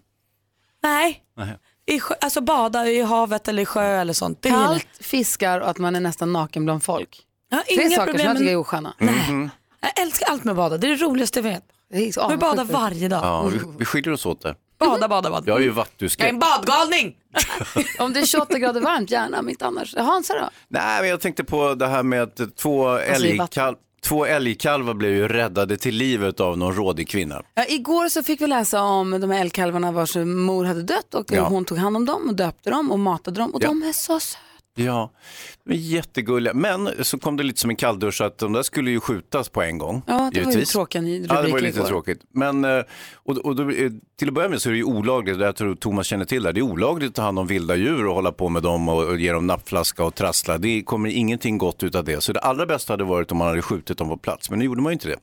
Speaker 2: nej.
Speaker 18: Nej.
Speaker 2: I sjö, alltså bada i havet eller i sjö eller sånt. Det gillar jag.
Speaker 1: Kallt, fiskar och att man är nästan naken bland folk.
Speaker 2: Ja,
Speaker 1: Tre
Speaker 2: inga
Speaker 1: saker
Speaker 2: problem
Speaker 1: som jag
Speaker 2: med-
Speaker 1: tycker är osköna.
Speaker 3: Mm-hmm.
Speaker 2: Jag älskar allt med att bada, det är det roligaste jag vet. Vi badar varje dag.
Speaker 3: Ja,
Speaker 1: Mm.
Speaker 3: vi, vi skiljer oss åt det.
Speaker 2: Bada, bada, bada.
Speaker 3: Jag är ju vattuskräck.
Speaker 2: badgalning!
Speaker 1: Om det är 28 grader varmt, gärna, men inte annars. Hansa då?
Speaker 3: Nej, men jag tänkte på det här med att två, älgkalv, två älgkalvar blev ju räddade till livet av någon rådig kvinna.
Speaker 1: Ja, igår så fick vi läsa om de här älgkalvarna vars mor hade dött och
Speaker 3: Ja.
Speaker 1: hon tog hand om dem och döpte dem och matade dem och
Speaker 3: Ja.
Speaker 1: de är så söta.
Speaker 3: Ja, de är jättegulliga. Men så kom det lite som en kalldusch att de där skulle ju skjutas på en gång.
Speaker 1: Ja, det var ju
Speaker 3: givetvis.
Speaker 1: tråkiga ny-
Speaker 3: Ja, det var
Speaker 1: rubriker
Speaker 3: ju lite
Speaker 1: igår.
Speaker 3: tråkigt. Men, eh, och, och då, eh, till att börja med så är det ju olagligt, jag tror Thomas känner till det, här, det är olagligt att ta hand om vilda djur och hålla på med dem och, och ge dem nappflaska och trassla. Det kommer ingenting gott utav det. Så det allra bästa hade varit om man hade skjutit dem på plats, men nu gjorde man ju inte det.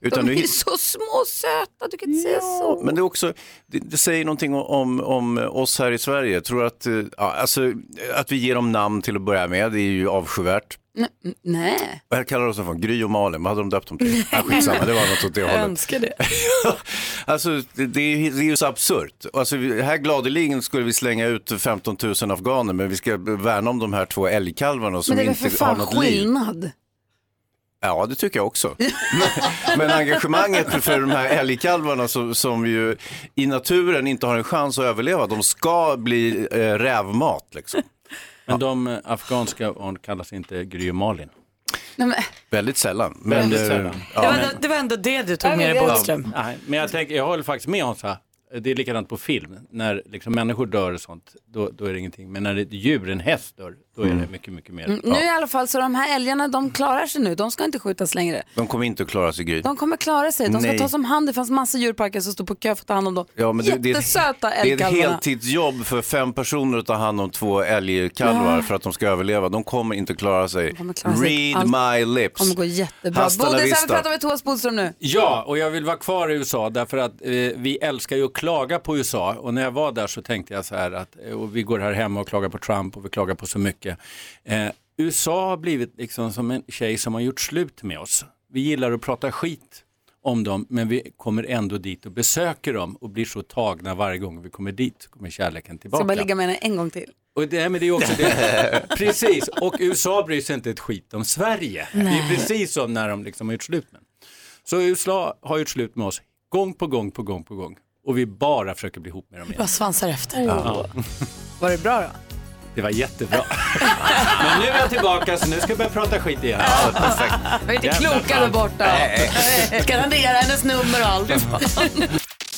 Speaker 3: Utan
Speaker 1: de
Speaker 3: nu
Speaker 1: är
Speaker 3: hitt-
Speaker 1: så små och söta, du kan inte säga så.
Speaker 3: men det, är också, det, det säger någonting om, om, om oss här i Sverige. Jag tror att, eh, ja, alltså, att vi ger dem namn till att börja med, det är ju avskyvärt.
Speaker 1: N- Nej.
Speaker 3: Vad kallar de sig för? Gry och Malin, vad hade de döpt dem till? Ah, skitsamma, det var något åt det hållet.
Speaker 2: det.
Speaker 3: Alltså, det, det är ju- det är ju så absurt. Alltså, vi- här gladeligen skulle vi slänga ut 15 000 afghaner, men vi ska värna om de här två älgkalvarna Alltså, som
Speaker 1: men det är väl för
Speaker 3: inte har
Speaker 1: fan
Speaker 3: något liv.
Speaker 1: skillnad?
Speaker 3: Ja, det tycker jag också. Men- Men engagemanget för de här älgkalvarna som, som ju i naturen inte har en chans att överleva, de ska bli eh, rävmat. Liksom.
Speaker 18: Men de eh, afghanska barn kallas inte Gry och Malin.
Speaker 1: Nej, men,
Speaker 3: Väldigt sällan. Men,
Speaker 18: Väldigt
Speaker 3: eh,
Speaker 18: sällan.
Speaker 3: Ja,
Speaker 2: det, var,
Speaker 3: men-
Speaker 2: det var ändå det du
Speaker 1: Ja,
Speaker 2: tog med dig
Speaker 1: men det-
Speaker 2: Bodström.
Speaker 18: Nej, men jag, tänker, jag håller faktiskt med Hansa. Det är likadant på film. När liksom människor dör och sånt, då, då är det ingenting. Men när ett djur, en häst, dör, då är det mycket, mycket mer.
Speaker 1: Mm, Nu i alla fall så de här älgarna, de klarar sig nu. De ska inte skjutas längre.
Speaker 3: De kommer inte att klara sig, Gry.
Speaker 1: De kommer klara sig. De ska
Speaker 3: Nej.
Speaker 1: tas om hand. Det fanns massa djurparker som stod på kö för att ta hand om dem.
Speaker 3: Ja, men det, det,
Speaker 1: Jättesöta
Speaker 3: det är ett
Speaker 1: älgkalvarna.
Speaker 3: heltidsjobb för fem personer att ta hand om två älgkalvar
Speaker 1: Ja.
Speaker 3: för att de ska överleva. De kommer inte klara sig.
Speaker 1: klara sig.
Speaker 3: Read
Speaker 1: Allt
Speaker 3: my lips.
Speaker 1: kommer gå jättebra.
Speaker 3: Hasta la
Speaker 1: Bodis, här
Speaker 3: vista.
Speaker 1: pratar vi Thomas Bodström nu.
Speaker 18: Ja, och jag vill vara kvar i USA därför att eh, vi älskar ju att klaga på USA och när jag var där så tänkte jag så här att eh, och vi går här hemma och klagar på Trump och vi klagar på så mycket. Eh, USA har blivit liksom som en tjej som har gjort slut med oss. Vi gillar att prata skit om dem men vi kommer ändå dit och besöker dem och blir så tagna varje gång vi kommer dit så kommer kärleken
Speaker 1: Ska bara
Speaker 18: tillbaka.
Speaker 1: ligga med henne en gång till.
Speaker 18: Och det, men det är också det. Precis, och USA bryr sig inte ett skit om Sverige. Det är
Speaker 1: Nej.
Speaker 18: precis som när de liksom har gjort slut med Så USA har gjort slut med oss gång på gång på gång på gång. Och vi bara försöker bli ihop med dem igen.
Speaker 2: Bara svansar efter.
Speaker 18: Ja.
Speaker 1: Var det bra då?
Speaker 18: Det var jättebra. Men nu är jag tillbaka så nu ska jag börja prata skit igen. Ja, perfekt.
Speaker 1: Vi är inte
Speaker 18: Jävla
Speaker 1: kloka där
Speaker 18: fan.
Speaker 1: borta.
Speaker 18: Nej.
Speaker 2: Ska radera hennes nummer och allt.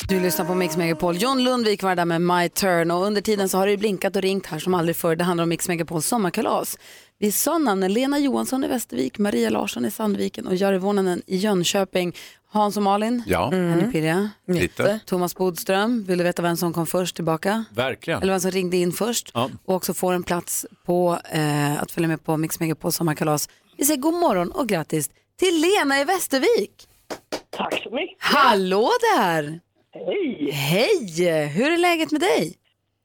Speaker 1: Du lyssnar på Mix Megapol. John Lundvik var där med My Turn och under tiden så har det ju blinkat och ringt här som aldrig förr. Det handlar om Mix Megapols sommarkalas. Vi sa namnen Lena Johansson i Västervik, Maria Larsson i Sandviken och Jari Vonanen i Jönköping. Hans och Malin,
Speaker 3: Ja. Mm.
Speaker 1: är ni pirriga?
Speaker 3: Lite.
Speaker 1: Thomas Bodström, vill du veta vem som kom först tillbaka?
Speaker 18: Verkligen.
Speaker 1: Eller vem som ringde in först
Speaker 18: Ja.
Speaker 1: och också får en plats på eh, att följa med på Mix Megapols sommarkalas. Vi säger god morgon och grattis till Lena i Västervik.
Speaker 13: Tack så mycket.
Speaker 1: Hallå där!
Speaker 13: Hej!
Speaker 1: Hej! Hur är läget med dig?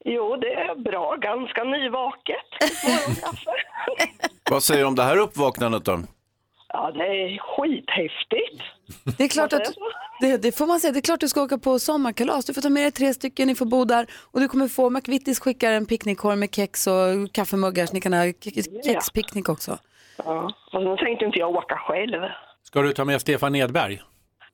Speaker 13: Jo, det är bra. Ganska nyvaket.
Speaker 3: Vad säger du om det här uppvaknandet då?
Speaker 13: Ja, det är skithäftigt.
Speaker 1: Det är klart att det, det får man säga. Det är klart du ska åka på sommarkalas. Du får ta med dig tre stycken, ni får bo där och du kommer få McVittys skickar en picknickkorg med kex och kaffemuggar så ni kan ha ke- ke- kexpicknick också.
Speaker 13: Ja, och sen tänkte inte jag åka själv.
Speaker 18: Ska du ta med Stefan Edberg?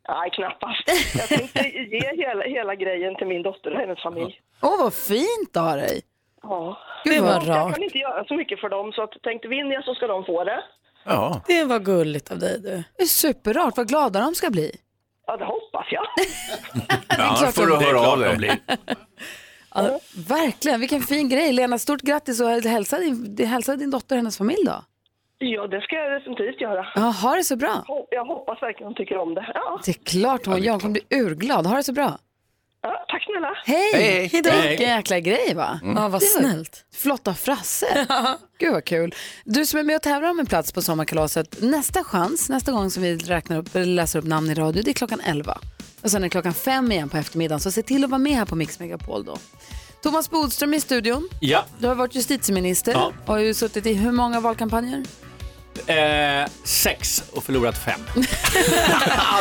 Speaker 13: Nej, knappast. Jag tänkte ge hela, hela grejen till min dotter och hennes familj.
Speaker 1: Åh, vad fint av dig!
Speaker 13: Ja.
Speaker 1: Gud, vad
Speaker 13: Jag
Speaker 1: rart.
Speaker 13: kan inte göra så mycket för dem, så att, tänkte vinner jag så ska de få det.
Speaker 3: Ja.
Speaker 2: Det var gulligt av dig du.
Speaker 1: Det är superrart. Vad glada de ska bli.
Speaker 13: Ja, det hoppas jag.
Speaker 3: Ja,
Speaker 1: klart
Speaker 3: får du
Speaker 1: de- Det är
Speaker 3: höra
Speaker 1: klart
Speaker 3: av
Speaker 1: de
Speaker 3: dig.
Speaker 1: Ja, verkligen, vilken fin grej. Lena, stort grattis och hälsa din, hälsa din dotter och hennes familj då.
Speaker 13: Ja, det ska jag definitivt göra.
Speaker 1: Ja, ha det så bra.
Speaker 13: Ho- Jag hoppas verkligen de tycker om det. Ja,
Speaker 1: Det är klart hon Jag kommer bli urglad. Ha det så bra.
Speaker 13: ja tack snälla.
Speaker 1: Hej!
Speaker 13: Hej, hej. Hej.
Speaker 1: Vilken jäkla grej va?
Speaker 2: Mm. Ja, vad
Speaker 1: Det var
Speaker 2: snällt.
Speaker 1: Flott av Frasse. Gud vad kul. Du som är med och tävlar om en plats på sommarkalaset. Nästa chans, nästa gång som vi räknar upp, eller läser upp namn i radio, det är klockan 11. Och sen är det klockan 5 igen på eftermiddagen. Så se till att vara med här på Mix Megapol då. Thomas Bodström i studion.
Speaker 18: Ja.
Speaker 1: Du har varit justitieminister
Speaker 18: Ja.
Speaker 1: och har ju suttit i hur många valkampanjer?
Speaker 18: Eh, sex och förlorat fem.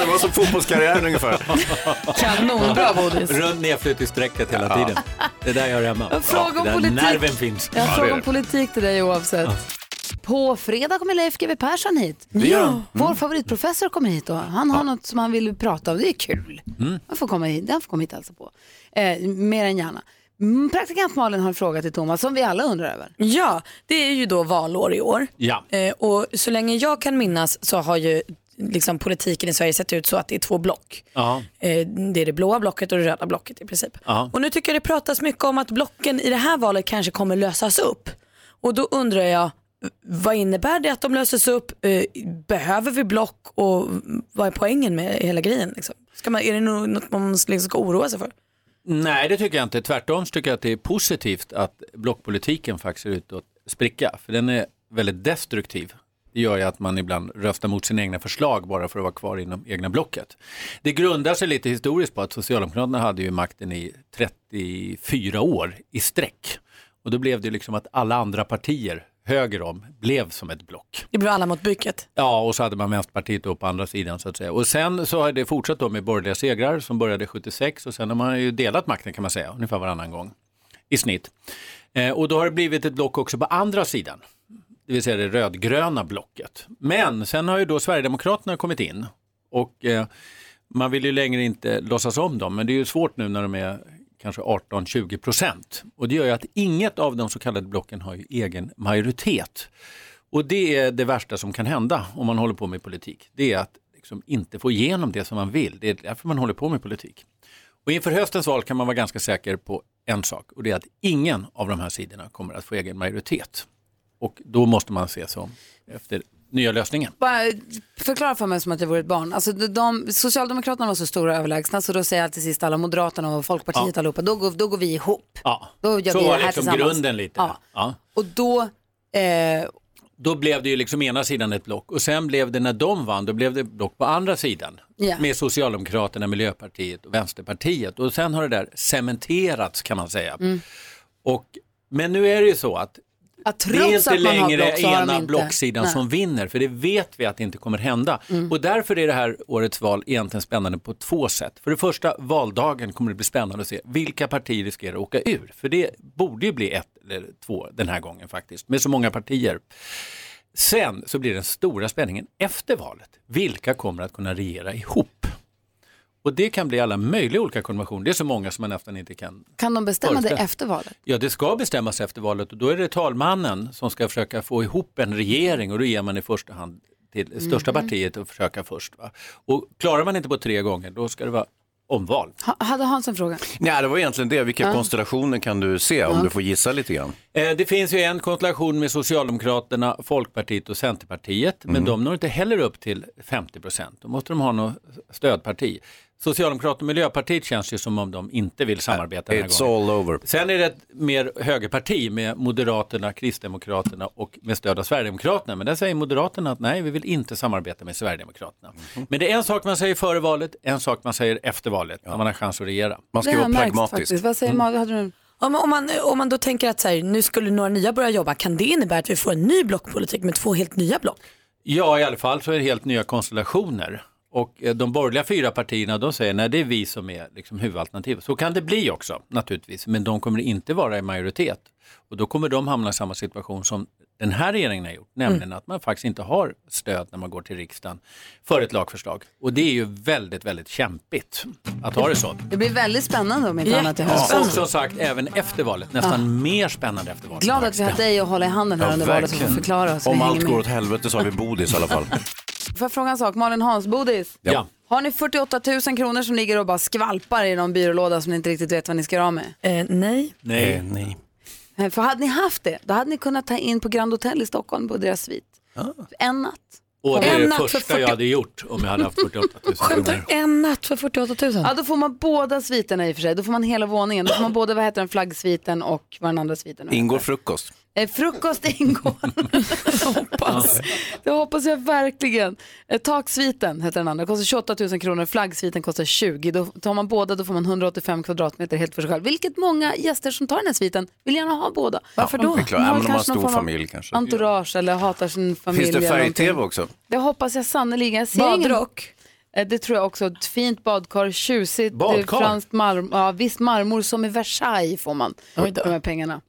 Speaker 3: det var som fotbollskarriären ungefär.
Speaker 1: Kanonbra, Bodis.
Speaker 18: Runt nedflytt i sträcket hela tiden. Det där gör jag hemma.
Speaker 1: Fråga om
Speaker 18: Ja, där
Speaker 1: politik.
Speaker 18: nerven finns.
Speaker 1: Jag har frågat om politik till dig oavsett. På fredag kommer Leif GW Persson hit.
Speaker 18: Det gör han. Mm.
Speaker 1: Vår favoritprofessor kommer hit och han har något som han vill prata om. Det är kul.
Speaker 5: Mm.
Speaker 1: Han får komma hit, han får komma hit och hälsa på. Eh, mer än gärna. Mm, Praktikant Malin har en fråga till Thomas som vi alla undrar över.
Speaker 2: Ja, det är ju då valår i år.
Speaker 18: Ja.
Speaker 2: Eh, och så länge jag kan minnas så har ju liksom, politiken i Sverige sett ut så att det är två block.
Speaker 18: Ja.
Speaker 2: Eh, det är det blåa blocket och det röda blocket i princip.
Speaker 18: Ja.
Speaker 2: Och nu tycker jag det pratas mycket om att blocken i det här valet kanske kommer lösas upp. Och då undrar jag, vad innebär det att de löses upp? Eh, Behöver vi block och vad är poängen med hela grejen? Liksom? Ska man, är det nog något man liksom ska oroa sig för?
Speaker 18: Nej, det tycker jag inte. Tvärtom så tycker jag att det är positivt att blockpolitiken faktiskt är ute att spricka. För den är väldigt destruktiv. Det gör ju att man ibland röstar mot sina egna förslag bara för att vara kvar inom egna blocket. Det grundar sig lite historiskt på att Socialdemokraterna hade ju makten i 34 år i sträck. Och då blev det liksom att alla andra partier höger om blev som ett block.
Speaker 2: Det blir alla mot bycket.
Speaker 18: Ja, och så hade man Vänsterpartiet då på andra sidan så att säga. Och sen så har det fortsatt då med borgerliga segrar som började 76 och sen har man ju delat makten kan man säga, ungefär varannan gång i snitt. Eh, och då har det blivit ett block också på andra sidan, det vill säga det rödgröna blocket. Men sen har ju då Sverigedemokraterna kommit in och eh, man vill ju längre inte låtsas om dem, men det är ju svårt nu när de är kanske 18-20 procent. Och det gör ju att inget av de så kallade blocken har ju egen majoritet. Och det är det värsta som kan hända om man håller på med politik. Det är att liksom inte få igenom det som man vill. Det är därför man håller på med politik. Och inför höstens val kan man vara ganska säker på en sak och det är att ingen av de här sidorna kommer att få egen majoritet. Och då måste man se sig om efter nya lösningen.
Speaker 1: Bara förklara för mig som att jag vore ett barn. Alltså, de, de, Socialdemokraterna var så stora och överlägsna så då säger jag till sist alla Moderaterna och Folkpartiet
Speaker 18: Ja.
Speaker 1: allihopa, då går, då går vi ihop.
Speaker 18: Ja.
Speaker 1: Då gör
Speaker 18: Så
Speaker 1: vi det
Speaker 18: var
Speaker 1: här
Speaker 18: liksom
Speaker 1: tillsammans.
Speaker 18: grunden lite.
Speaker 1: Ja.
Speaker 18: Ja.
Speaker 1: Och då, eh,
Speaker 18: Då blev det ju liksom ena sidan ett block och sen blev det när de vann, då blev det block på andra sidan.
Speaker 1: Ja.
Speaker 18: Med Socialdemokraterna, Miljöpartiet och Vänsterpartiet. Och sen har det där cementerats kan man säga. Och, men nu är det ju så att
Speaker 1: att
Speaker 18: det är
Speaker 1: trots
Speaker 18: inte
Speaker 1: att man har
Speaker 18: längre
Speaker 1: block så har de
Speaker 18: ena
Speaker 1: inte.
Speaker 18: blocksidan
Speaker 1: Nej. Mm.
Speaker 18: som vinner, för det vet vi att det inte kommer hända. Och därför är det här årets val egentligen spännande på två sätt. För det första, valdagen kommer det bli spännande att se vilka partier riskerar att åka ur. För det borde ju bli ett eller två den här gången faktiskt, med så många partier. Sen så blir den stora spänningen efter valet. Vilka kommer att kunna regera ihop? Och det kan bli alla möjliga olika konventioner. Det är så många som man nästan inte kan
Speaker 1: Kan de bestämma det
Speaker 18: Föreställ-
Speaker 1: efter valet?
Speaker 18: Ja, det ska bestämmas efter valet och då är det talmannen som ska försöka få ihop en regering och då ger man i första hand till det största
Speaker 1: Mhm.
Speaker 18: partiet att försöka först. Va? Och klarar man inte på tre gånger, då ska det vara omval.
Speaker 1: Ha, hade Hans en fråga?
Speaker 3: Nej, det var egentligen det. Vilka
Speaker 1: Ja.
Speaker 3: konstellationer kan du se om
Speaker 1: Ja.
Speaker 3: du får gissa lite grann?
Speaker 18: Eh, Det finns ju en konstellation med Socialdemokraterna, Folkpartiet och Centerpartiet,
Speaker 3: Mm.
Speaker 18: men de når inte heller upp till 50 procent. Då måste de ha något stödparti. Socialdemokraterna och Miljöpartiet känns ju som om de inte vill samarbeta den här
Speaker 3: It's all
Speaker 18: gången.
Speaker 3: over.
Speaker 18: Sen är det ett mer högerparti med Moderaterna, Kristdemokraterna och med stöd av Sverigedemokraterna. Men där säger Moderaterna att nej, vi vill inte samarbeta med Sverigedemokraterna. Men det är en sak man säger före valet, en sak man säger efter valet när man har chans att regera. Man
Speaker 1: det har jag märkt Faktiskt. Vad
Speaker 2: Mm.
Speaker 1: säger Malin? Hade du en-
Speaker 2: Om, om, man, om man då tänker att så här, nu skulle några nya börja jobba, kan det innebära att vi får en ny blockpolitik med två helt nya block?
Speaker 18: Ja, i alla fall så är det helt nya konstellationer. Och eh, de borgerliga fyra partierna de säger nej det är vi som är liksom huvudalternativet. Så kan det bli också naturligtvis, men de kommer inte vara i majoritet. Och då kommer de hamna i samma situation som den här regeringen har gjort, nämligen
Speaker 1: Mm.
Speaker 18: att man faktiskt inte har stöd när man går till riksdagen för ett lagförslag. Och det är ju väldigt, väldigt kämpigt att ha det så.
Speaker 1: Det blir väldigt spännande om inte annat i höst.
Speaker 18: Ja, och som sagt, även efter valet, nästan mer spännande efter valet.
Speaker 1: Glad att vi har dig att hålla i handen här under valet och få förklara oss. Vi
Speaker 3: Om
Speaker 1: hänger
Speaker 3: allt
Speaker 1: med.
Speaker 3: går åt helvete så har vi Bodis i alla fall.
Speaker 1: Får jag fråga en sak? Malin Hans, Bodis.
Speaker 3: Ja.
Speaker 1: Har ni 48 000 kronor som ligger och bara skvalpar i någon byrålåda som ni inte riktigt vet vad ni ska göra av med?
Speaker 2: Eh, nej.
Speaker 18: Nej.
Speaker 3: nej.
Speaker 1: Eh, För hade ni haft det, då hade ni kunnat ta in på Grand Hotel i Stockholm på deras svit. En natt.
Speaker 18: Och det är
Speaker 1: En
Speaker 18: det
Speaker 1: natt för
Speaker 18: första jag
Speaker 1: 40
Speaker 18: hade gjort om jag hade haft 48 000 kronor.
Speaker 2: En natt för 48 000?
Speaker 1: Ja, då får man båda sviterna i och för sig. Då får man hela våningen. Då får man både, vad heter den, flaggsviten och vad den andra sviten nu
Speaker 3: Ingår frukost.
Speaker 1: Eh, frukost ingår. hoppas. Det hoppas jag verkligen. Eh, taksviten heter den andra, kostar 28 000 kronor. Flaggsviten kostar 20. Då tar man båda, då får man 185 kvadratmeter helt för sig själv. Vilket många gäster som tar den här sviten vill gärna ha båda. Varför
Speaker 3: det
Speaker 1: då?
Speaker 3: är klart. Ja, men om man har
Speaker 1: kanske någon
Speaker 3: stor
Speaker 1: form av
Speaker 3: familj kanske.
Speaker 1: Entourage eller hatar sin familj.
Speaker 3: Finns det
Speaker 1: eller någonting.
Speaker 3: färg-tv också?
Speaker 1: Det hoppas jag sannerligen. Jag ser
Speaker 2: Badrock?
Speaker 1: Ingen... Eh, Det tror jag också. Ett fint badkar, tjusigt eh,
Speaker 2: Badkar?
Speaker 1: franskt marmor. Ja, visst marmor som i Versailles får man för de här pengarna.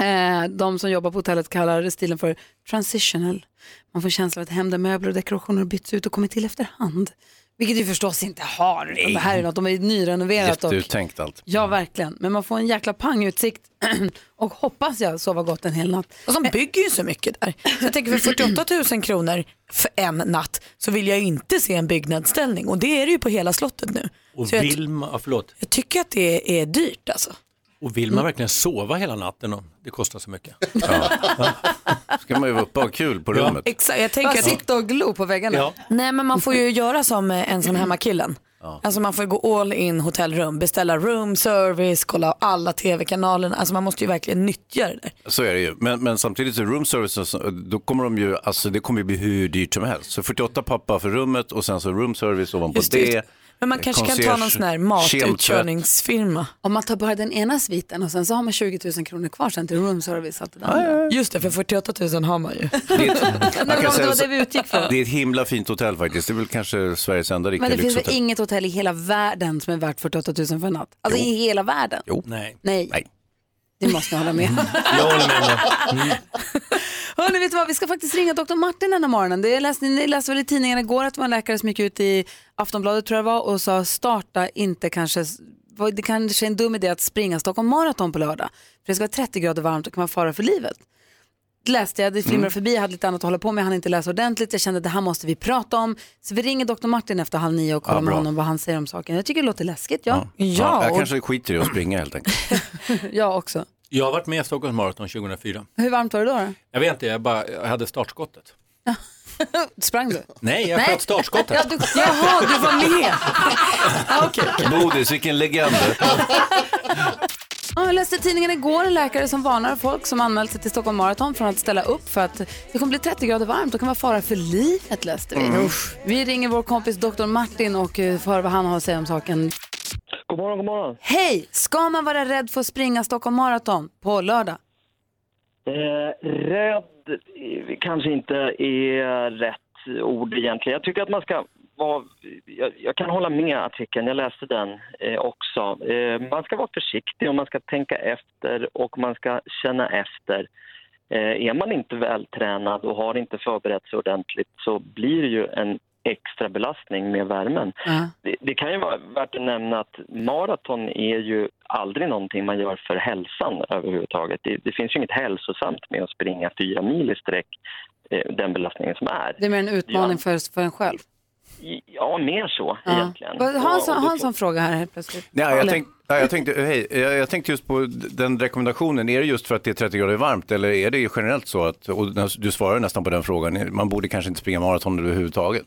Speaker 1: Eh, De som jobbar på hotellet kallar stilen för transitional. Man får känslan av att hem där möbler och dekorationer har bytts ut och kommit till efterhand. Vilket du förstås inte har. utan Det här är något, de är nyrenoverat. Och,
Speaker 3: Jätteuttänkt allt.
Speaker 1: ja, verkligen. Men man får en jäkla pangutsikt och hoppas jag sova gott en hel natt. Eh,
Speaker 2: Och de bygger ju så mycket där. Så jag tänker för 48 000 kronor för en natt så vill jag ju inte se en byggnadsställning och det är det ju på hela slottet nu.
Speaker 18: Och
Speaker 2: så jag,
Speaker 18: vill man, ja, förlåt.
Speaker 2: jag tycker att det är dyrt alltså.
Speaker 18: Och vill
Speaker 1: Mm.
Speaker 18: man verkligen sova hela natten om det kostar så mycket?
Speaker 3: Ska man ju vara uppe och ha kul på rummet.
Speaker 2: Exakt, jag
Speaker 1: Bara
Speaker 2: tänker att...
Speaker 1: sitta och glo på väggarna.
Speaker 3: Ja.
Speaker 2: Nej men man får ju göra som eh, ensam hemmakillen. Alltså man får ju gå all in hotellrum, beställa room service, kolla alla tv-kanalerna. Alltså man måste ju verkligen nyttja det där.
Speaker 3: Så är det ju. Men, men samtidigt så room service, så- då kommer de ju, alltså det kommer ju bli hur dyrt som helst. Så 48 pappa för rummet och sen så room service ovanpå
Speaker 2: Just det,
Speaker 3: det.
Speaker 2: just det. Men man
Speaker 3: Eh,
Speaker 2: kanske kan ta
Speaker 3: concierge,
Speaker 2: någon sån här
Speaker 3: kemtvätt.
Speaker 2: matutkörningsfirma.
Speaker 1: Om man tar bara den ena sviten och sen så har man 20 000 kronor kvar sen till roomservice. och allt det där.
Speaker 2: Just det, för 48 000 har man ju.
Speaker 1: Nej,
Speaker 3: Man kan
Speaker 1: men om det
Speaker 3: säga
Speaker 1: var
Speaker 3: så-
Speaker 1: det vi utgick för.
Speaker 3: Det är ett himla fint hotell faktiskt. Det är väl kanske Sveriges enda riktiga
Speaker 1: Men det finns väl
Speaker 3: lyxhotell.
Speaker 1: inget hotell i hela världen som är värt 48 000 för en natt? Alltså i hela världen?
Speaker 3: Jo.
Speaker 18: Nej.
Speaker 1: Nej. Det måste ni hålla med om.
Speaker 18: Jag håller med.
Speaker 1: Hörrni, vet du vad? Vi ska faktiskt ringa Dr. Martin den här morgonen. Det jag läste, ni läste väl i tidningen igår att det var en läkare som gick ut i Aftonbladet tror jag det var och sa starta inte kanske, vad- det kanske är en dum idé att springa Stockholm Marathon på lördag. För det ska vara 30 grader varmt och kan man fara för livet. Läste jag, det flimrade
Speaker 3: Mm.
Speaker 1: förbi, jag hade lite annat att hålla på med, jag hann inte läsa ordentligt. Jag kände att det här måste vi prata om. Så vi ringer Dr. Martin efter halv nio och kollar
Speaker 3: Ja,
Speaker 1: med
Speaker 3: bra.
Speaker 1: honom vad han säger om saken. Jag tycker det låter läskigt, ja.
Speaker 3: Ja, jag
Speaker 1: och-
Speaker 3: kanske skiter i att springa helt enkelt.
Speaker 1: jag också.
Speaker 18: Jag har varit med i Stockholms Marathon 2004.
Speaker 1: Hur varmt var det då?
Speaker 18: Jag vet inte, jag, bara, jag hade startskottet.
Speaker 1: då? Sprang du?
Speaker 18: Nej, jag
Speaker 1: Nej.
Speaker 18: sköt startskottet.
Speaker 1: Ja, du, jaha, du var med.
Speaker 3: Bodis, vilken legend.
Speaker 1: Ja, jag läste i tidningen igår en läkare som varnar folk som anmält sig till Stockholm Marathon från att ställa upp för att det kommer bli 30 grader varmt och kan vara fara för livet läste vi.
Speaker 13: Mm.
Speaker 1: Vi ringer vår kompis Dr. Martin och eh, får höra vad han har att säga om saken.
Speaker 12: God morgon, god morgon.
Speaker 1: Hej! Ska man vara rädd för att springa Stockholm Marathon på lördag?
Speaker 12: Eh, rädd eh, kanske inte är rätt ord egentligen. Jag tycker att man ska vara... Jag, jag kan hålla med artikeln, jag läste den eh, också. Eh, man ska vara försiktig och man ska tänka efter och man ska känna efter. Eh, är man inte vältränad och har inte förberett sig ordentligt så blir det ju en extra belastning med värmen. Det, det kan ju vara värt att nämna att maraton är ju aldrig någonting man gör för hälsan överhuvudtaget. Det, det finns ju inget hälsosamt med att springa fyra mil i sträck, eh, den belastningen som är.
Speaker 1: Det är mer en utmaning för, för en själv.
Speaker 12: Ja, mer så egentligen.
Speaker 1: Vad- Har han så-
Speaker 12: Och- och
Speaker 1: har
Speaker 12: det-
Speaker 1: han en sån fråga här helt plötsligt?
Speaker 3: Nej, jag,
Speaker 1: Eller-
Speaker 3: tänk, nej, jag, tänkte, hej, jag, jag tänkte just på d- den rekommendationen. Är det just för att det är 30 grader varmt eller är det generellt så att, och när- du svarar nästan på den frågan, man borde kanske inte springa maraton överhuvudtaget?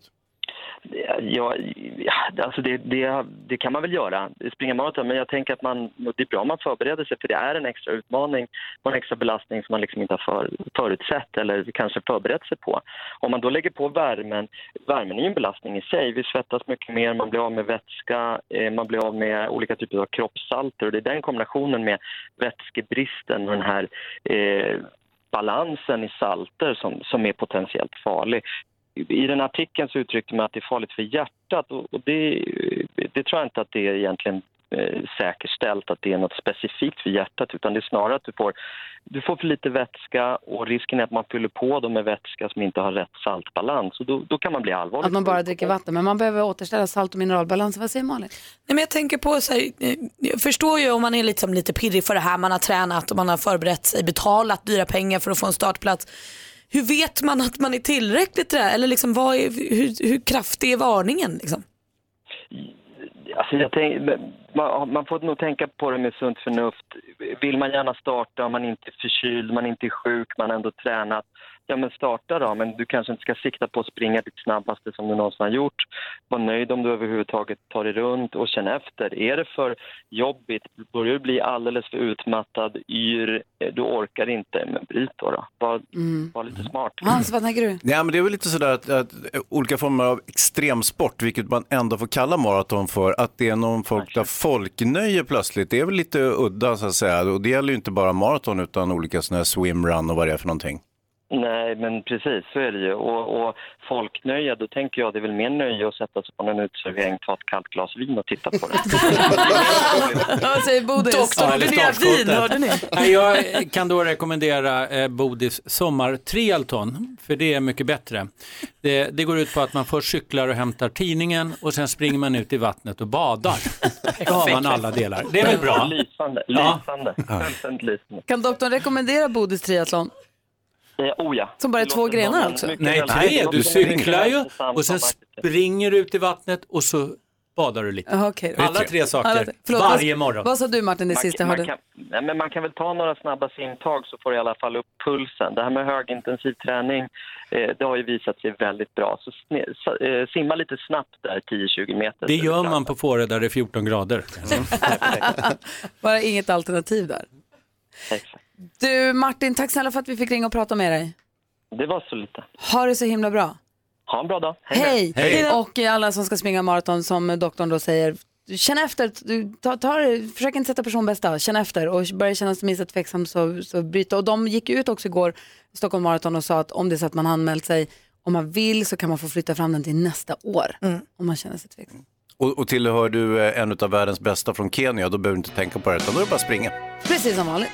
Speaker 12: Ja, ja, alltså det, det, det kan man väl göra, springa maraton, men jag tänker att man, det är bra om man förbereder sig för det är en extra utmaning och en extra belastning som man liksom inte har för, förutsett eller kanske förberett sig på. Om man då lägger på värmen, värmen är ju en belastning i sig, vi svettas mycket mer, man blir av med vätska, eh, man blir av med olika typer av kroppssalter och det är den kombinationen med vätskebristen och den här eh, balansen i salter som, som är potentiellt farlig i den artikeln så uttryckte man att det är farligt för hjärtat och och det, det tror jag inte att det är egentligen eh, säkerställt att det är något specifikt för hjärtat utan det är snarare att du får, du får för lite vätska och risken är att man fyller på dem med vätska som inte har rätt saltbalans och då, då kan man bli allvarligt
Speaker 1: Att man bara dricker vatten, men man behöver återställa salt och mineralbalansen. Vad säger Malin?
Speaker 2: Nej, men jag tänker på så här, eh, jag förstår ju om man är liksom lite pirrig för det här, man har tränat och man har förberett sig, betalat dyra pengar för att få en startplats. Hur vet man att man är tillräckligt där? Eller liksom, vad är, hur, hur kraftig är varningen? Liksom?
Speaker 12: Alltså jag tänk, man, man får nog tänka på det med sunt förnuft. Vill man gärna starta, om man inte är förkyld, man inte är sjuk, man har ändå tränat, ja men starta då, men du kanske inte ska sikta på att springa ditt snabbaste som du någonsin har gjort. Var nöjd om du överhuvudtaget tar dig runt och känn efter. Är det för jobbigt, börjar du bli alldeles för utmattad, yr, eh, du orkar inte, men bryt då. då. Var, var lite smart.
Speaker 1: Hans, vad tänker du?
Speaker 3: Nej, men det är väl lite sådär att, att olika former av extremsport, vilket man ändå får kalla maraton för, att det är någon form av folknöje plötsligt. Det är väl lite udda så att säga. Och det gäller ju inte bara maraton utan olika sådana här swimrun och vad det är för någonting.
Speaker 12: Nej, men precis så är det ju. Och, och folknöje, då tänker jag det är väl mer nöje att sätta sig på någon uteservering, ta ett kallt glas vin och titta på det.
Speaker 1: Vad säger Bodis?
Speaker 18: Ja, eller startskottet. Nej, jag kan då rekommendera eh, Bodis sommartrialton, för det är mycket bättre. Det, det går ut på att man först cyklar och hämtar tidningen och sen springer man ut i vattnet och badar. Då har man alla delar. Det är väl bra?
Speaker 12: Lysande,
Speaker 18: Ja.
Speaker 12: lysande. Fullständigt lysande.
Speaker 1: Kan doktorn rekommendera Bodis triathlon?
Speaker 12: Eh, oh ja.
Speaker 1: Som bara är
Speaker 12: Det
Speaker 1: två
Speaker 12: låter
Speaker 1: grenar
Speaker 12: som-
Speaker 1: alltså?
Speaker 12: mycket
Speaker 18: Nej,
Speaker 12: väl- det
Speaker 18: tre.
Speaker 12: låter
Speaker 18: Du
Speaker 12: som mycket
Speaker 18: cyklar ju
Speaker 12: hälsosam
Speaker 18: och sen
Speaker 12: sommar.
Speaker 18: springer du ut i vattnet och så badar du lite.
Speaker 1: Jaha, okej då.
Speaker 18: Alla tre
Speaker 1: Alla
Speaker 18: saker,
Speaker 1: tre. Förlåt,
Speaker 18: varje
Speaker 1: vad-
Speaker 18: morgon.
Speaker 1: Vad sa du Martin, det sista jag
Speaker 12: man,
Speaker 1: hörde?
Speaker 12: kan, nej, men man kan väl ta några snabba simtag så får du i alla fall upp pulsen. Det här med högintensiv träning, eh, det har ju visat sig väldigt bra. Så sne, sa- eh, simma lite snabbt där, 10-20 meter.
Speaker 18: Det gör man på Fårö där det är 14 grader.
Speaker 1: Bara inget alternativ där. Du Martin, tack snälla för att vi fick ringa och prata med dig.
Speaker 12: Det var så lite.
Speaker 1: Ha det så himla bra.
Speaker 12: Ha en bra dag.
Speaker 1: Hej! Och alla som ska springa maraton som doktorn då säger, känn efter, du, ta, ta, det, försök inte sätta personbästa, känn efter och börjar känna sig minst tveksam så, så bryta. Och de gick ut också igår, Stockholm Marathon, och sa att om det är så att man har anmält sig, om man vill så kan man få flytta fram den till nästa år.
Speaker 2: Mm.
Speaker 1: Om man känner sig tveksam.
Speaker 3: Och, och tillhör du eh, en av världens bästa från Kenya, då behöver du inte tänka på det, utan då är det bara att springa. Mm.
Speaker 1: Precis som vanligt.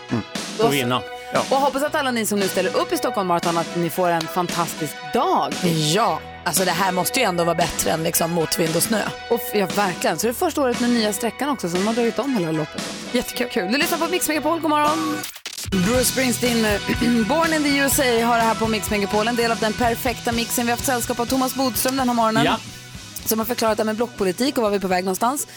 Speaker 3: Och vinna. Ja.
Speaker 1: Och hoppas att alla ni som nu ställer upp i Stockholm Marathon att ni får en fantastisk dag.
Speaker 2: Ja, alltså det här måste ju ändå vara bättre än liksom motvind och snö.
Speaker 1: Och f- ja, verkligen. Så det är första året med nya sträckan också, så de har dragit om hela loppet. Jättekul. Kul. Du lyssnar på Mix Megapol, god morgon. Bruce Springsteen med Born in the USA har det här på Mix Megapol, en del av den perfekta mixen. Vi har haft sällskap av Thomas Bodström den här morgonen.
Speaker 5: Ja.
Speaker 1: Som har förklarat det här med blockpolitik och var vi är på väg någonstans.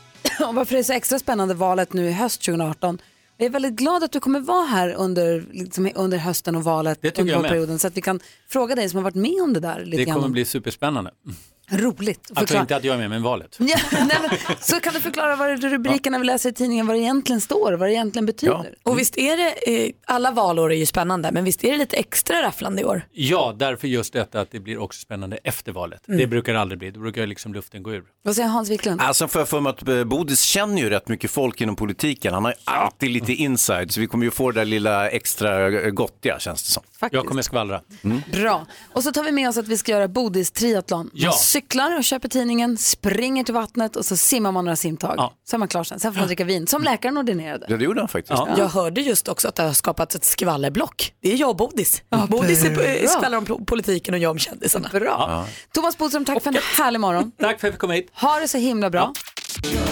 Speaker 1: och varför det är så extra spännande valet nu i höst 2018. Jag är väldigt glad att du kommer vara här under, liksom, under hösten och valet
Speaker 18: tycker
Speaker 1: under
Speaker 18: jag med.
Speaker 1: valperioden så att vi kan fråga dig som har varit med om det där lite
Speaker 18: Det
Speaker 1: grann.
Speaker 18: kommer bli superspännande.
Speaker 1: Roligt. att
Speaker 18: Alltså
Speaker 1: förklara.
Speaker 18: inte att jag är med, men valet.
Speaker 1: Ja, nej, men, så kan du förklara vad rubrikerna vi läser i tidningen, vad det egentligen står, vad det egentligen betyder.
Speaker 2: Och visst är det, eh, alla valår är ju spännande, men visst är det lite extra rafflande i år?
Speaker 18: Ja, därför just detta att det blir också spännande efter valet.
Speaker 2: Mm.
Speaker 18: Det brukar aldrig bli, då brukar liksom luften gå ur.
Speaker 1: Vad säger Hans Wiklund?
Speaker 3: Alltså får jag för mig att eh, Bodis känner ju rätt mycket folk inom politiken. Han har ju alltid lite inside, så vi kommer ju få det där lilla extra eh, gottiga känns det som.
Speaker 18: Jag kommer skvallra.
Speaker 3: Mm.
Speaker 1: Bra. Och så tar vi med oss att vi ska göra Bodis triathlon. Man
Speaker 18: Ja.
Speaker 1: cyklar och köper tidningen, springer till vattnet och så simmar man några simtag. Så är man klar sen. Sen får man dricka vin, som läkaren ordinerade.
Speaker 3: Ja, det gjorde han faktiskt.
Speaker 2: Jag hörde just också att det har skapats ett skvallerblock. Det är jag och Bodis. Bodis är,
Speaker 1: bra.
Speaker 2: eh, skvallrar om po- politiken och jag om kändisarna.
Speaker 18: Bra.
Speaker 1: Thomas Bodström, tack för en härlig morgon.
Speaker 18: Tack för att vi kom hit.
Speaker 1: Ha det så himla bra.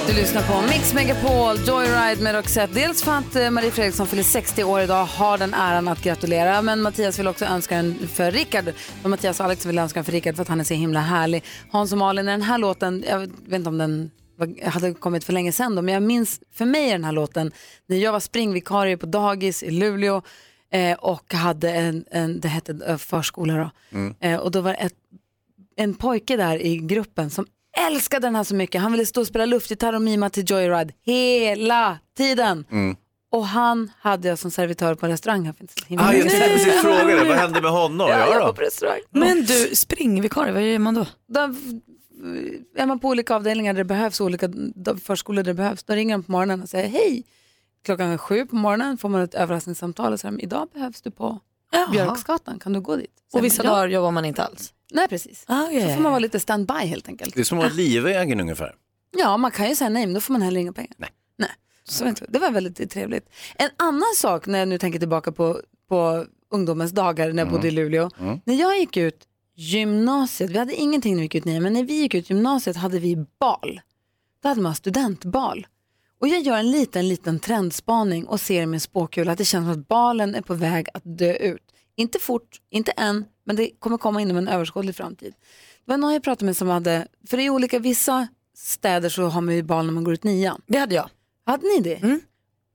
Speaker 1: Du lyssnar på Mix Megapol, Joyride med Roxette. Dels för att eh, Marie Fredriksson fyller 60 år idag, har den äran att gratulera. Men Mattias vill också önska en för Rickard. Och Mattias och Alex vill önska en för Rickard för att han är så himla härlig. Hans och Malin, är den här låten, jag vet inte om den var- hade kommit för länge sedan då, men jag minns, för mig är den här låten, när jag var springvikarie på dagis i Luleå eh, och hade en, en det hette eh, förskola då.
Speaker 5: Mm.
Speaker 1: Eh, och då var det ett, en pojke där i gruppen som älskade den här så mycket. Han ville stå och spela luftgitarr och mima till Joyride hela tiden.
Speaker 3: Mm.
Speaker 1: Och han hade jag som servitör på en restaurang. här för inte så himla
Speaker 3: Ah, jag
Speaker 1: länge
Speaker 3: tänkte
Speaker 1: sedan.
Speaker 3: precis fråga det, vad hände med honom?
Speaker 1: Ja, jag var
Speaker 3: då? Mm.
Speaker 1: på restaurang.
Speaker 2: Men du, springvikarie, vad gör man då?
Speaker 1: Då eh, är man på olika avdelningar där det behövs, olika d- förskolor där det behövs. Då ringer de på morgonen och säger hej. Klockan är sju på morgonen får man ett överraskningssamtal och säger idag behövs du på Björksgatan, kan du gå dit? Säger
Speaker 2: Och vissa
Speaker 1: man, "Ja."
Speaker 2: dagar jobbar man inte alls.
Speaker 1: Nej, precis.
Speaker 2: ja,
Speaker 1: Så får man vara lite standby helt enkelt.
Speaker 3: Det är som att vara livvägen ungefär.
Speaker 1: Ja, man kan ju säga nej, men då får man heller inga pengar. Nej. Så vet du, det var väldigt trevligt. En annan sak när jag nu tänker tillbaka på, på ungdomens dagar när jag
Speaker 5: Mm.
Speaker 1: bodde i Luleå.
Speaker 5: Mm.
Speaker 1: När jag gick ut gymnasiet, vi hade ingenting när vi gick ut nian, men när vi gick ut gymnasiet hade vi bal. Då hade man studentbal. Och jag gör en liten, liten trendspaning och ser med spåkula att det känns som att balen är på väg att dö ut. Inte fort, inte än, men det kommer komma inom en överskådlig framtid. Det var någon jag pratade med som hade, för i olika vissa städer så har man ju bal när man går ut nian.
Speaker 2: Det hade jag. Mm.
Speaker 1: Hade ni det?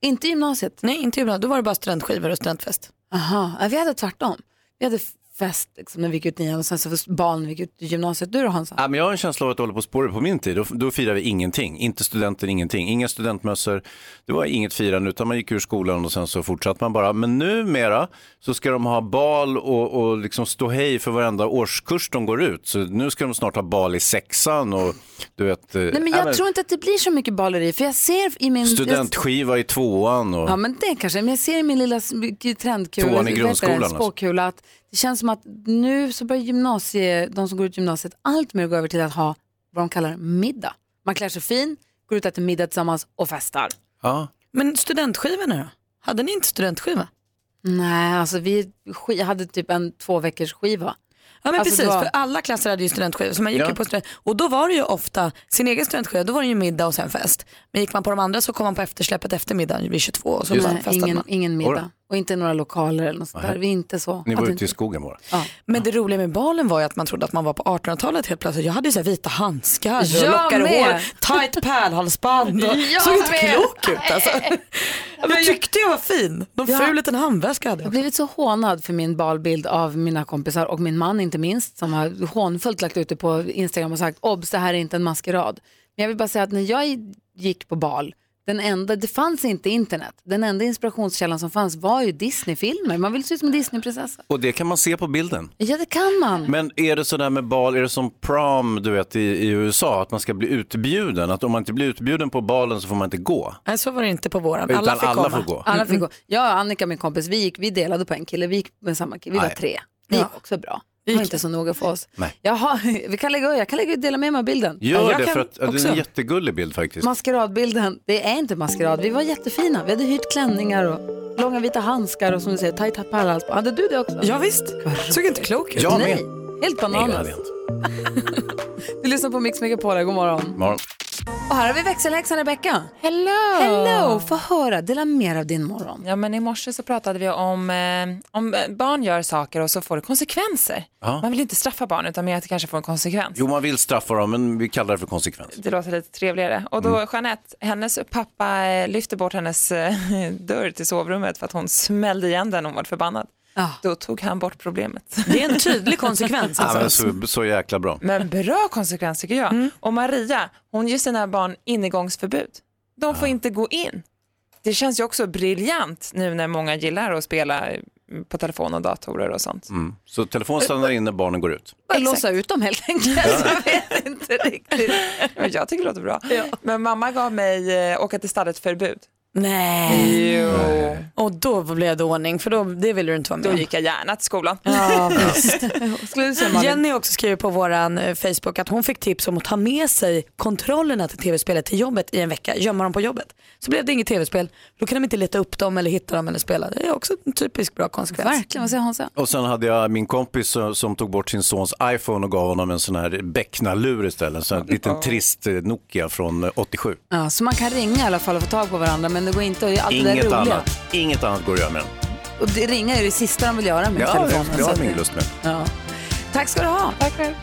Speaker 1: Inte gymnasiet?
Speaker 2: Nej, inte gymnasiet. Då var det bara studentskivor och studentfest.
Speaker 1: Aha, ja, vi hade tvärtom. Vi hade fest liksom, när vi gick ut nian och sen så för barn när vi gick ut i gymnasiet. Du då Hansa?
Speaker 3: Ja, men jag har en känsla av att det håller på att spåra på min tid. Då, då firade vi ingenting. Inte studenten, ingenting. Inga studentmössor. Det var inget firande utan man gick ur skolan och sen så fortsatte man bara. Men numera så ska de ha bal och, och liksom stå hej för varenda årskurs de går ut. Så nu ska de snart ha bal i sexan och du vet. eh,
Speaker 1: Nej men jag tror inte att det blir så mycket baleri för jag ser i min...
Speaker 3: Studentskiva i tvåan och...
Speaker 1: Ja men det kanske, men jag ser i min lilla s- trendkula,
Speaker 3: Tvåan i
Speaker 1: vad heter det?
Speaker 3: grundskolan, alltså.
Speaker 1: spåkula, att det känns som att nu så börjar gymnasie, de som går ut gymnasiet allt mer gå över till att ha vad de kallar middag. Man klär sig fin, går ut och äter middag tillsammans och festar.
Speaker 3: Ja.
Speaker 2: Men studentskivorna då? Hade ni inte studentskiva?
Speaker 1: Nej, alltså vi sk- hade typ en två veckors skiva.
Speaker 2: Ja men
Speaker 1: Alltså,
Speaker 2: precis,
Speaker 1: det var-
Speaker 2: för alla klasser hade ju studentskiva. Så man gick
Speaker 1: Ja.
Speaker 2: ju på student... Och då var det ju ofta sin egen studentskiva, då var det ju middag och sen fest. Men gick man på de andra så kom man på eftersläppet efter middagen vid 22 och så
Speaker 1: Just
Speaker 2: bara
Speaker 1: det.
Speaker 2: festade
Speaker 1: ingen,
Speaker 2: man.
Speaker 1: ingen middag och inte några lokaler eller något sånt där.
Speaker 2: Nej.
Speaker 1: Vi är inte så.
Speaker 3: Ni var
Speaker 1: Hade
Speaker 3: ute i skogen bara.
Speaker 2: Men det roliga med balen var ju att man trodde att man var på 1800-talet helt plötsligt. Jag hade ju så här vita handskar,
Speaker 1: Jag
Speaker 2: lockar
Speaker 1: med.
Speaker 2: hår, tight pärlhalsband. och
Speaker 1: Jag
Speaker 2: Såg inte
Speaker 1: med.
Speaker 2: klok ut alltså. Jag tyckte jag var fin. Någon
Speaker 1: Ja.
Speaker 2: ful liten handväska hade
Speaker 1: Jag har blivit så hånad för min balbild av mina kompisar och min man inte minst som har hånfullt lagt ut det på Instagram och sagt obs det här är inte en maskerad. Men jag vill bara säga att när jag gick på bal, den enda, det fanns inte internet. Den enda inspirationskällan som fanns var ju Disney-filmer. Man vill se ut som en Disney-prinsessa.
Speaker 3: Och det kan man se på bilden.
Speaker 1: Ja det kan man.
Speaker 3: Men är det sådär med bal, är det som prom du vet i, i USA, att man ska bli utbjuden? Att om man inte blir utbjuden på balen så får man inte gå?
Speaker 2: Nej så var det inte på våran.
Speaker 3: Utan Alla fick alla komma. får gå.
Speaker 1: Alla
Speaker 2: Mm.
Speaker 1: fick gå. Jag och Annika min kompis vi, gick, vi delade på en kille, vi gick med samma kille, vi var
Speaker 3: Nej.
Speaker 1: tre. Det gick också bra. Det var inte så noga för oss.
Speaker 3: Nej.
Speaker 1: Jaha, vi kan lägga, jag kan lägga dela med mig av bilden.
Speaker 3: Gör
Speaker 1: jag
Speaker 3: det
Speaker 1: kan
Speaker 3: för att ja, det är
Speaker 1: också.
Speaker 3: en jättegullig bild faktiskt.
Speaker 1: Maskeradbilden, det är inte maskerad. Vi var jättefina. Vi hade hyrt klänningar och långa vita handskar och som du säger, tajta pärlhalsband. Hade du det också?
Speaker 2: Ja, visst. Såg inte klok ut.
Speaker 3: Jag med.
Speaker 1: Nej, helt bananas. Du lyssnar på Mix Megapol, här. god morgon.
Speaker 3: Morgon.
Speaker 1: Och här har vi växelhäxan Rebecka.
Speaker 14: Hello!
Speaker 1: Hello, få höra, dela mer av din morgon.
Speaker 14: Ja, men i morse så pratade vi om eh, om barn gör saker och så får det konsekvenser.
Speaker 3: Ja.
Speaker 14: Man vill inte straffa barn utan mer att det kanske får en konsekvens.
Speaker 3: Jo, man vill straffa dem, men vi kallar det för konsekvens.
Speaker 14: Det låter lite trevligare. Och
Speaker 3: Mm.
Speaker 14: då Jeanette, hennes pappa eh, lyfte bort hennes eh, dörr till sovrummet för att hon smällde igen den och hon var förbannad. Då tog han bort problemet.
Speaker 2: Det är en tydlig konsekvens
Speaker 1: alltså.
Speaker 3: Ja, men så, så jäkla bra.
Speaker 14: Men bra konsekvens tycker jag.
Speaker 1: Mm.
Speaker 14: Och Maria, hon ger sina barn inegångsförbud. De får inte gå in. Det känns ju också briljant nu när många gillar att spela eh, på telefon och datorer och sånt.
Speaker 3: Mm. Så telefon stannar inne, barnen går ut.
Speaker 1: Bara låsa ut dem helt enkelt.
Speaker 14: Men jag tycker det låter bra. Men mamma gav mig eh, åka till stallet förbud.
Speaker 2: Nej. Och då blev det ordning för då, det ville du inte vara med
Speaker 14: Då
Speaker 2: om.
Speaker 14: gick jag gärna till skolan.
Speaker 2: Ja, visst.
Speaker 1: Skulle du säga, Malin?
Speaker 2: Jenny har också skriver på våran eh, Facebook att hon fick tips om att ta med sig kontrollerna till tv-spelet till jobbet i en vecka, gömma dem på jobbet. Så blev det inget tv-spel, då kan de inte leta upp dem eller hitta dem eller spela. Det är också en typisk bra konsekvens.
Speaker 1: Verkligen, vad säger Hansa?
Speaker 3: Och sen hade jag min kompis eh, som tog bort sin sons iPhone och gav honom en sån här becknarlur istället. Så en liten trist eh, Nokia från eh, 87.
Speaker 1: Ja, så man kan ringa i alla fall och få tag på varandra men det går inte att allt det där
Speaker 3: Inget
Speaker 1: roliga.
Speaker 3: annat, inget annat går att göra med den.
Speaker 1: Och det, ringa är det sista de vill göra med
Speaker 3: Ja,
Speaker 1: telefonen.
Speaker 3: det, det
Speaker 1: så
Speaker 3: har
Speaker 1: att
Speaker 3: de ingen
Speaker 1: det-
Speaker 3: lust med.
Speaker 1: Ja. Tack ska du ha.
Speaker 14: Tack själv.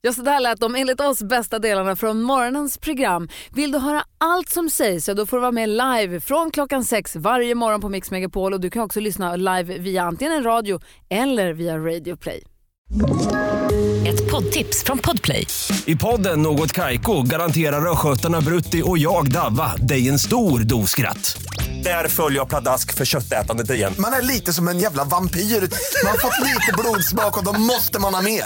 Speaker 1: Ja, så där lät de enligt oss bästa delarna från morgonens program. Vill du höra allt som sägs så då får du vara med live från klockan sex varje morgon på Mix Megapol och du kan också lyssna live via antingen en radio eller via Radio Play.
Speaker 10: Ett poddtips från Podplay.
Speaker 19: I podden Något Kaiko garanterar östgötarna Brutti och jag, Davva, dig en stor dos skratt. Där följer jag pladask för köttätandet igen.
Speaker 11: Man är lite som en jävla vampyr. Man har fått lite blodsmak och då måste man ha mer.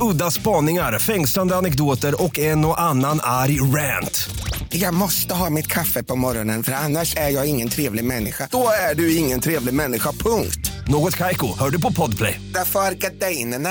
Speaker 19: Udda spaningar, fängslande anekdoter och en och annan arg rant.
Speaker 20: Jag måste ha mitt kaffe på morgonen för annars är jag ingen trevlig människa. Då är du ingen trevlig människa, punkt.
Speaker 19: Något Kaiko, hör du på Podplay.
Speaker 20: Därför arkadeinerna.